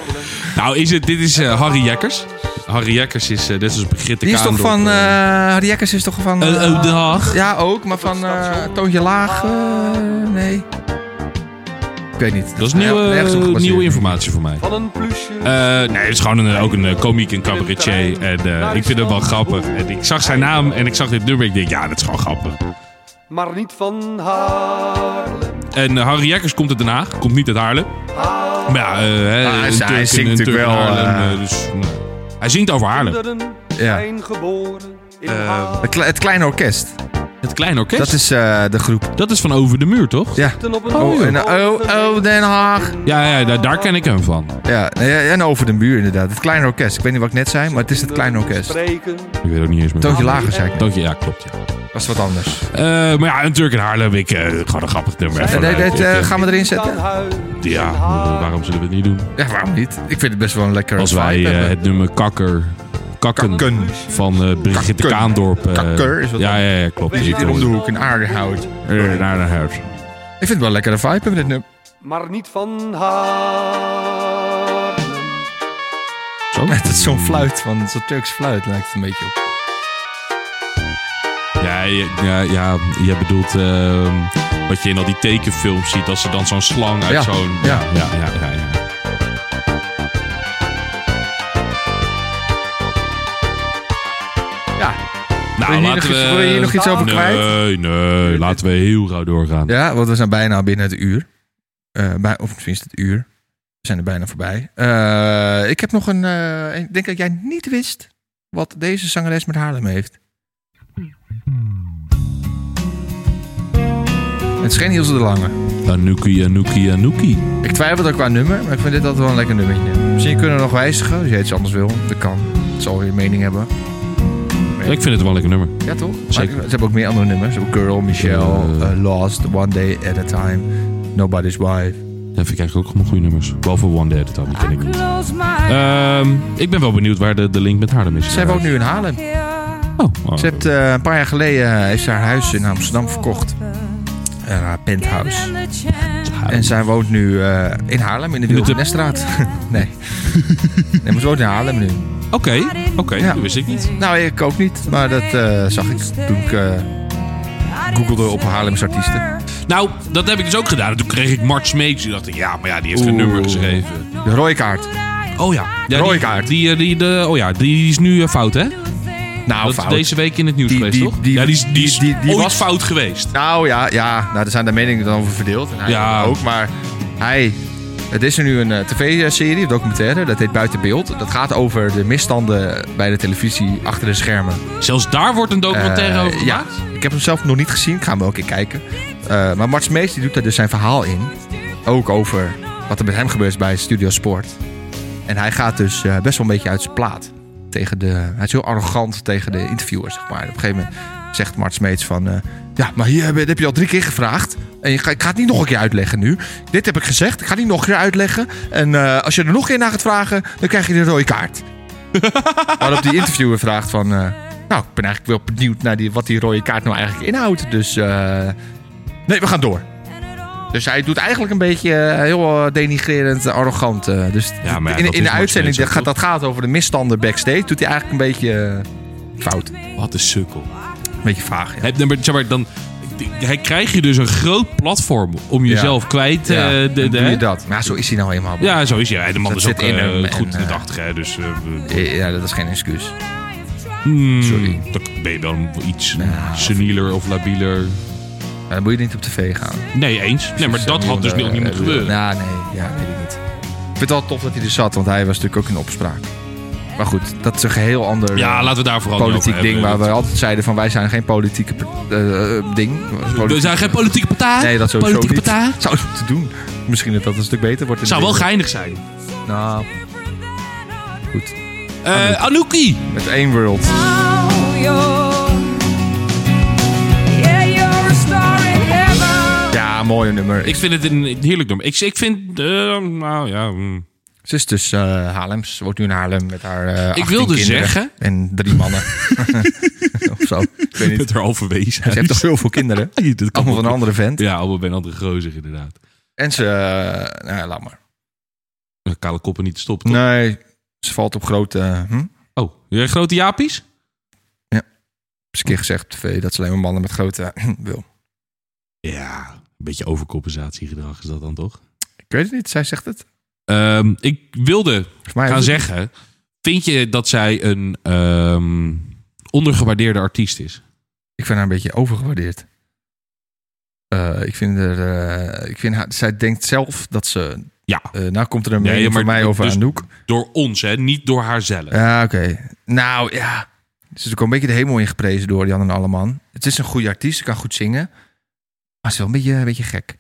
Nou, is het, dit is eh, Harry Jekkers. Harry Jekkers is, eh, net zoals Brigitte
Die is toch
Kaandorp,
van... eh
eh,
Harry Jekkers is toch van...
eh,
eh,
eh, dag.
ja, ook, maar van eh Toontje Laag. eh, nee. Ik weet niet.
Dat is nieuwe,
Nergens op gebaseerd.
nieuwe informatie voor mij.
Van een plusje.
Eh, nee, het is gewoon een, ook een eh, komiek en cabaretier. En eh, ik vind het wel grappig. En ik zag zijn naam en ik zag dit nummer. Ik denk, ja, dat is gewoon grappig.
Maar niet van Haarlem.
En eh, Harry Jekkers komt uit Den Haag. Komt niet uit Haarlem. Maar ja, eh, hè,
Ah, hij-
een
hij
Turk en
zingt
een Turk
natuurlijk
in
wel,
Haarlem,
eh,
eh, dus, nou, hij zingt over Haarlem.
Kinderen
Ja.
zijn geboren in
Eh,
Haarlem.
Het, kle- het kleine orkest.
Het Klein Orkest.
Dat is eh, de groep.
Dat is van Over de Muur, toch?
Ja. Oh, en, oh, oh, Den Haag.
Ja, ja daar, daar ken ik hem van.
Ja, nou ja, en over de muur inderdaad. Het kleine orkest. Ik weet niet wat ik net zei, maar het is het kleine orkest.
Spreken.
Ik weet ook niet eens meer.
Toontje lager, zei ik.
Toontje, ja, klopt. Ja.
Dat is wat anders.
Eh, maar ja, een Turk in Haarlem, ik, eh, gewoon een grappig nummer.
Ja,
Even
dit-
uit,
dit,
ik,
eh,
eh,
gaan we erin zetten?
Ja, waarom zullen we het niet doen?
Ja, waarom niet? Ik vind het best wel een lekker
Als wij
vibe
eh,
hebben.
het nummer Kakker... Kakken,
Kakken.
van eh, Brigitte
Kakken.
Kaandorp. eh,
Kakker is wat
ja,
dan?
ja, ja, klopt.
Die zit hier om de hoek in Aardenhout.
Eh, naar de huis.
Ik vind het wel een lekkere vibe hebben dit nummer.
Maar niet van haar.
Zo?
Het is zo'n fluit, van zo'n Turks fluit lijkt het een beetje op.
Ja, ja, ja, ja, jij bedoelt ehm, wat je in al die tekenfilms ziet, dat ze dan zo'n slang uit
Ja,
zo'n...
ja.
Ja, ja, ja, ja.
Ja.
Nou,
Wil je hier
laten
nog
we...
iets- wil je hier nog iets over
Nee,
kwijt?
nee, laten we heel gauw doorgaan.
Ja, want we zijn bijna binnen het uur. Eh, bij, of misschien is het het uur. We zijn er bijna voorbij. Eh, ik heb nog een... eh, ik denk dat jij niet wist wat deze zangeres met Haarlem heeft. Het is geen Ilse de Lange.
Anuki, Anuki, Anuki.
Ik twijfel ook qua nummer, maar ik vind dit altijd wel een lekker nummertje. Misschien kunnen we nog wijzigen als jij iets anders wil. Dat kan. Dat zal je mening hebben.
Ik vind het wel een lekker nummer.
Ja, toch? Maar
Zeker.
ze hebben ook meer andere nummers. Ze hebben Girl, Michelle,
Eh.
eh, Lost, One Day at a Time, Nobody's Wife.
Dan vind ik eigenlijk ook allemaal goede nummers. Behalve One Dead, dat ken ik niet.
Close my
Ehm, ik ben wel benieuwd waar de, de link met Haarlem is.
Ze hebben ook nu in Haarlem.
Oh, oh.
Ze heeft eh, een paar jaar geleden eh, heeft ze haar huis in Amsterdam verkocht. Eh, haar penthouse. En zij woont nu eh, in Haarlem, in de Wilgenestraat. nee. nee, maar ze woont in Haarlem nu.
Oké, oké, dat wist ik niet.
Nou, ik ook niet. Maar dat eh, zag ik toen ik eh, googelde op Haarlems artiesten.
Nou, dat heb ik dus ook gedaan. En toen kreeg ik Mart Smeets. Die dacht ik, ja, maar ja, die heeft geen nummer geschreven.
De rooikaart.
Oh ja. ja
Rooikaart.
Die, die, die, de, oh ja, die is nu eh, fout, hè?
Nou,
Dat is
fout.
deze week in het nieuws
Die-
geweest,
die-
toch?
die-
ja, die, is- die, is
die- die
ooit
was-
fout geweest.
Nou ja, ja nou, er zijn daar meningen dan over verdeeld. En hij
Ja.
ook, maar hij... Het is er nu een eh, tv-serie, documentaire, dat heet Buiten Beeld. Dat gaat over de misstanden bij de televisie achter de schermen.
Zelfs daar wordt een documentaire
Eh,
over
ja,
gemaakt.
ik heb hem zelf nog niet gezien. Ik ga hem wel een keer kijken. Eh, maar Mart Smees die doet daar dus zijn verhaal in. Ook over wat er met hem gebeurt bij Studio Sport. En hij gaat dus eh, best wel een beetje uit zijn plaat. Tegen de, hij is heel arrogant tegen de interviewer, zeg maar. En Op een gegeven moment zegt Mart Smeets van... eh, ja, maar hier heb, dit heb je al drie keer gevraagd. En je ga- ik ga het niet nog een keer uitleggen nu. Dit heb ik gezegd, ik ga het niet nog een keer uitleggen. En eh, als je er nog een keer naar gaat vragen, dan krijg je de rode kaart. Waarop die interviewer vraagt van... eh, nou, ik ben eigenlijk wel benieuwd naar die, wat die rode kaart nou eigenlijk inhoudt. Dus eh, nee, we gaan door. Dus hij doet eigenlijk een beetje eh, heel eh, denigrerend, eh, arrogant. eh. Dus
Ja, maar ja,
in,
dat
in
is
de
nog
uitzending, dat
steeds
gaat, dat gaat over de misstanden backstage, doet hij eigenlijk een beetje eh, fout.
Wat een sukkel.
Een beetje vaag, ja.
Hij, nee, maar, zeg maar, dan, hij krijgt je dus een groot platform om jezelf kwijt eh, te...
Ja,
Ja,
dan doe je dat. Maar zo is hij nou eenmaal.
ja zo is hij. Hij. De man
Dat
is ook
zit in
eh,
hem en,
goed in de
eh,
dag, hè, dus... eh,
Ja, dat is geen excuus.
hmm,
Sorry. Nou,
Dan ben je wel iets senieler of labieler.
Maar dan moet je niet op tv gaan. eh,
Nee, eens. Nee, maar dat had dus ook niet moeten gebeuren.
Ja, nee, ja, weet ik niet. Ik vind het wel tof dat hij er zat, want hij was natuurlijk ook in opspraak. Maar goed, dat is een geheel ander
Ja,
eh,
laten we daar vooral niet
politiek
over
ding
hebben.
waar we altijd zeiden van wij zijn geen politieke par- eh, eh, ding.
We zijn geen politieke partij.
Nee, dat sowieso
Politieke
niet.
partij.
Zou het moeten doen. Misschien dat dat een stuk beter wordt. in
Zou
de
wel
wereld.
geinig zijn.
Nou, goed.
Eh, Anouki.
Met één world. Ja, mooi nummer.
Ik vind het een heerlijk nummer. Ik, ik vind... eh, nou ja... mm.
Ze is dus eh Haarlems. Ze woont nu in Haarlem met haar eh 18
wilde
kinderen
zeggen-
En drie mannen. of zo. Ik weet niet.
er al verwezen.
Ze heeft toch heel veel kinderen?
Dat kan
Allemaal van
wel.
een andere vent.
Ja, allemaal bij een andere gozer inderdaad.
En ze... eh, nou ja, laat maar.
Eh, Kale koppen niet te stoppen. toch?
Nee, ze valt op grote... eh, hm?
Oh, jij grote Japies?
is een keer gezegd op tv dat ze alleen maar mannen met grote eh, wil.
Ja, een beetje overcompensatiegedrag is dat dan toch?
Ik weet het niet, zij zegt het.
Ehm, ik wilde
Volgens mij
gaan
heeft het-
zeggen... Vind je dat zij een ehm, ondergewaardeerde artiest is?
Ik vind haar een beetje overgewaardeerd. Eh, ik vind er, eh, ik vind haar, zij denkt zelf dat ze.
Ja,
eh, nou komt er een
Nee,
mening
maar
van mij over
dus-
Anouk.
door ons, hè? Niet door haarzelf.
Ja, oké. Nou ja. is ook wel een beetje de hemel ingeprezen door Jan en Alleman. Het is een goede artiest, ze kan goed zingen. Maar ze is wel een beetje, een beetje gek.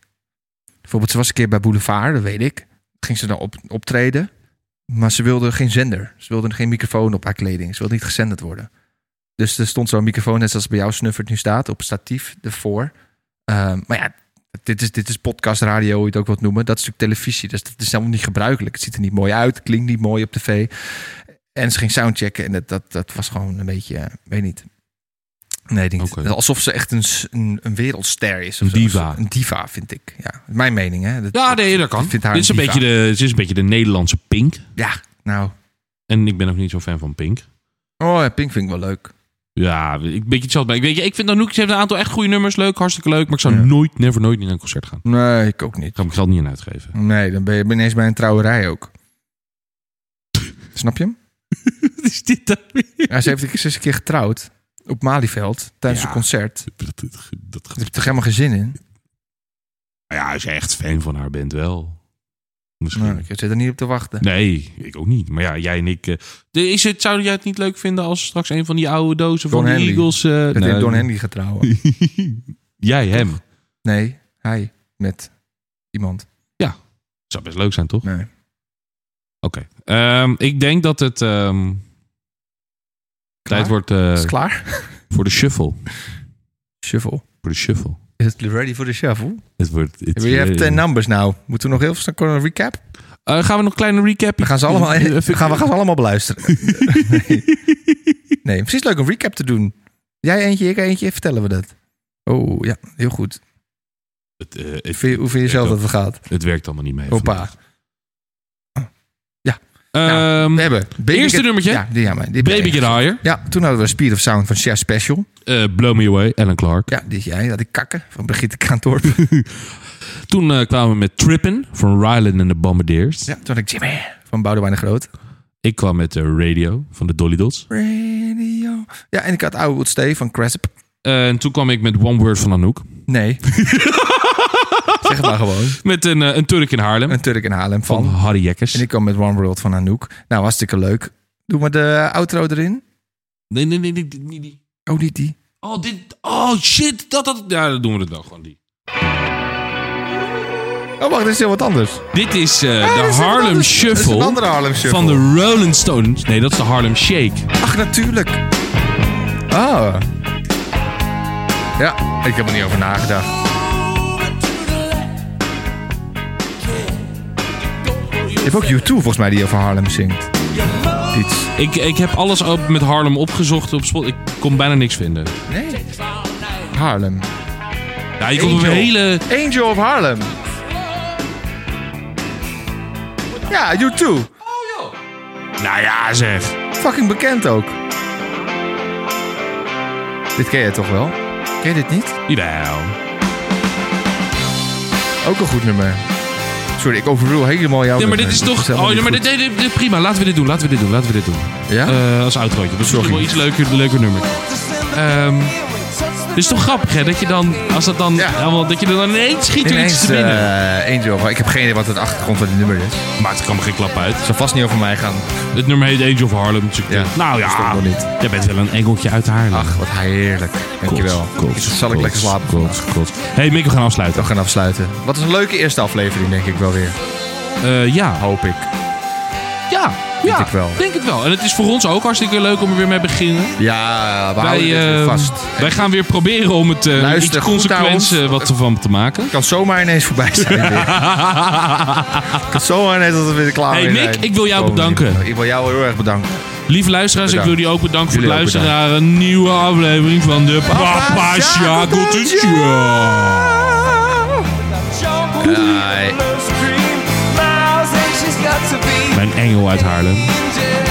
Bijvoorbeeld, ze was een keer bij Boulevard, dat weet ik. Ging ze dan op, optreden. Maar ze wilde geen zender. Ze wilde geen microfoon op haar kleding. Ze wilde niet gezenderd worden. Dus er stond zo'n microfoon, net zoals bij jou snuffert nu staat, op statief ervoor. Ehm, maar ja, dit is, dit is podcast, radio, hoe je het ook wilt noemen. Dat is natuurlijk televisie, dus dat is helemaal niet gebruikelijk. Het ziet er niet mooi uit, klinkt niet mooi op tv. En ze ging soundchecken en dat, dat, dat was gewoon een beetje, eh, weet niet. Nee, ik denk niet. alsof ze echt een, s- een, een wereldster is. Of
Een
zo.
diva.
Een diva, vind ik. Ja, mijn mening, hè. Dat-
Ja, nee, dat kan.
ik vind haar
Dit is een,
diva.
beetje de, dit is een beetje de Nederlandse Pink.
Ja, nou.
En ik ben ook niet zo'n fan van Pink.
Oh ja, Pink vind ik wel leuk.
Ja, ik een beetje hetzelfde. Ik, weet je, ik vind Anouk, ze heeft een aantal echt goede nummers. Leuk, hartstikke leuk. Maar ik zou nooit, never, nooit niet naar een concert gaan.
Nee, ik ook niet. Ik
ga mijn geld niet aan uitgeven.
Nee, dan ben je ineens bij een trouwerij ook. Snap je hem?
Wat is dit dan
Ja, ze heeft een keer- ze is een keer getrouwd. Op Malieveld, tijdens
Ja.
een concert.
Dat, dat, dat,
Daar heb je toch helemaal geen zin in?
Maar ja, als je echt fan van haar bent, wel. Misschien.
Nou, ik zit er niet op te wachten.
Nee, ik ook niet. Maar ja, jij en ik... eh, de- is het, zou jij het niet leuk vinden als straks een van die oude dozen
Don
van
Henley.
de Eagles... eh,
Dat
nou,
heeft Don Henley getrouwen.
Jij hem.
Nee, hij met iemand.
Ja, zou best leuk zijn, toch?
Nee.
Oké. Ehm, ik denk dat het... ehm, tijd wordt... eh,
Is het klaar?
Voor de shuffle.
Shuffle?
Voor de shuffle.
Is het ready for the shuffle?
Het wordt... het-
We have
eh,
10 numbers nou. Moeten we nog heel snel kort een recap?
Eh, gaan we nog een kleine recap?
We gaan ze allemaal,
Even-
we gaan, we gaan ze allemaal beluisteren. nee. nee, precies leuk om recap te doen. Jij eentje, ik eentje, vertellen we dat. Oh ja, heel goed.
Het, eh, het-
Vind je- hoe vind je
het
zelf
werkt
dat het gaat?
al- Het werkt allemaal niet mee.
Hoppa. Ja.
Ehm,
we hebben. Baby
eerste
Get-
nummertje.
Ja, die, ja, maar die
Baby Get Higher.
Ja, toen hadden we Speed of Sound van Chef Special.
Eh, Blow Me Away, Alan Clark.
Ja, die is jij. Dat ik kakken van Brigitte Kaantorp.
Toen eh, kwamen we met Trippin' van Ryland en de Bombardiers.
ja, toen had ik Jimmy van Boudewijn de Groot.
Ik kwam met eh, Radio van de Dolly Dots.
Radio. Ja, en ik had Oude Wood Stay van Crasp.
Eh, en toen kwam ik met One Word van Anouk.
Nee. zeg het maar gewoon.
Met een, eh, een Turk in Haarlem.
Een Turk in Haarlem van.
Van Harry Jekkers.
En ik kwam met One World van Anouk. Nou, hartstikke leuk. Doe maar de outro erin.
Nee, nee, nee, nee, die- niet die.
Oh, niet die.
Oh, dit. Oh, shit. Dat, dat. Ja, dan doen we het dan gewoon die.
Oh, wacht, dit is heel wat anders.
Dit is eh,
dat
de
is een
Harlem
andere-
Shuffle.
dat is een andere Harlem Shuffle.
Van de Rolling Stones. Nee, dat is de Harlem Shake.
Ach, natuurlijk. Ah. Ja, ik heb er niet over nagedacht. Je hebt ook U2 volgens mij die over Harlem zingt. Iets.
Ik, ik heb alles op, met Harlem opgezocht op spot. Ik kon bijna niks vinden.
Nee. Harlem.
Ja, je komt op een hele...
Angel of Harlem. Ja, Oh, U2.
Nou ja, zeg.
Fucking bekend ook. Dit ken je toch wel? Ken je dit niet?
Jawel.
Ook een goed nummer. Sorry, ik overrule helemaal jouw
Nee, maar dit
nummer.
is toch...
helemaal
Oh, nee,
niet
maar
goed.
dit, nee, dit- dit- prima. Laten we dit doen. Laten we dit doen. Laten we dit doen.
Ja?
Eh, als outrootje. Dat is toch wel iets leuker, leuker nummer. Ehm dit is toch grappig, hè? Dat je dan... Als dat dan... allemaal- dat je er dan ineens schiet er iets
Ineens
te binnen.
eh, Angel. of- Ik heb geen idee wat het achtergrond van dit nummer is. Het
Maar het kwam geen klap uit.
zal vast niet over mij gaan.
Het nummer heet Angel of Harlem. Dus ik
Ja,
dacht, nou
dat is toch
ja,
wel niet.
jij bent wel een engeltje uit Haarlem.
Ach, wat heerlijk. Dankjewel.
Kots, kots,
Zal ik
kots,
lekker slapen
Kots,
vandaag.
kots. hey, Mick, we gaan afsluiten.
We gaan afsluiten. Wat is een leuke eerste aflevering, denk ik wel weer.
Eh, ja.
Hoop ik.
Ja, ja.
ik wel.
Denk het wel. En het is voor ons ook hartstikke leuk om er weer mee te beginnen.
Ja, we
Wij,
houden dit weer
eh,
vast.
wij gaan weer proberen om het eh
Luister
iets
goed
consequents
naar
eh, wat ervan te maken.
Het kan zomaar ineens voorbij zijn. weer. Het kan zomaar ineens dat we weer klaar
Hey,
weer
Mick,
zijn.
ik wil jou
Gewoon
bedanken.
niet. Ik wil jou heel erg bedanken.
Lieve luisteraars,
Bedankt.
ik wil jullie ook bedanken voor het
Jullie ook
luisteren naar een nieuwe aflevering van de Papa Shackleton Show.
Bye.
Mijn engel uit Haarlem.
Angel.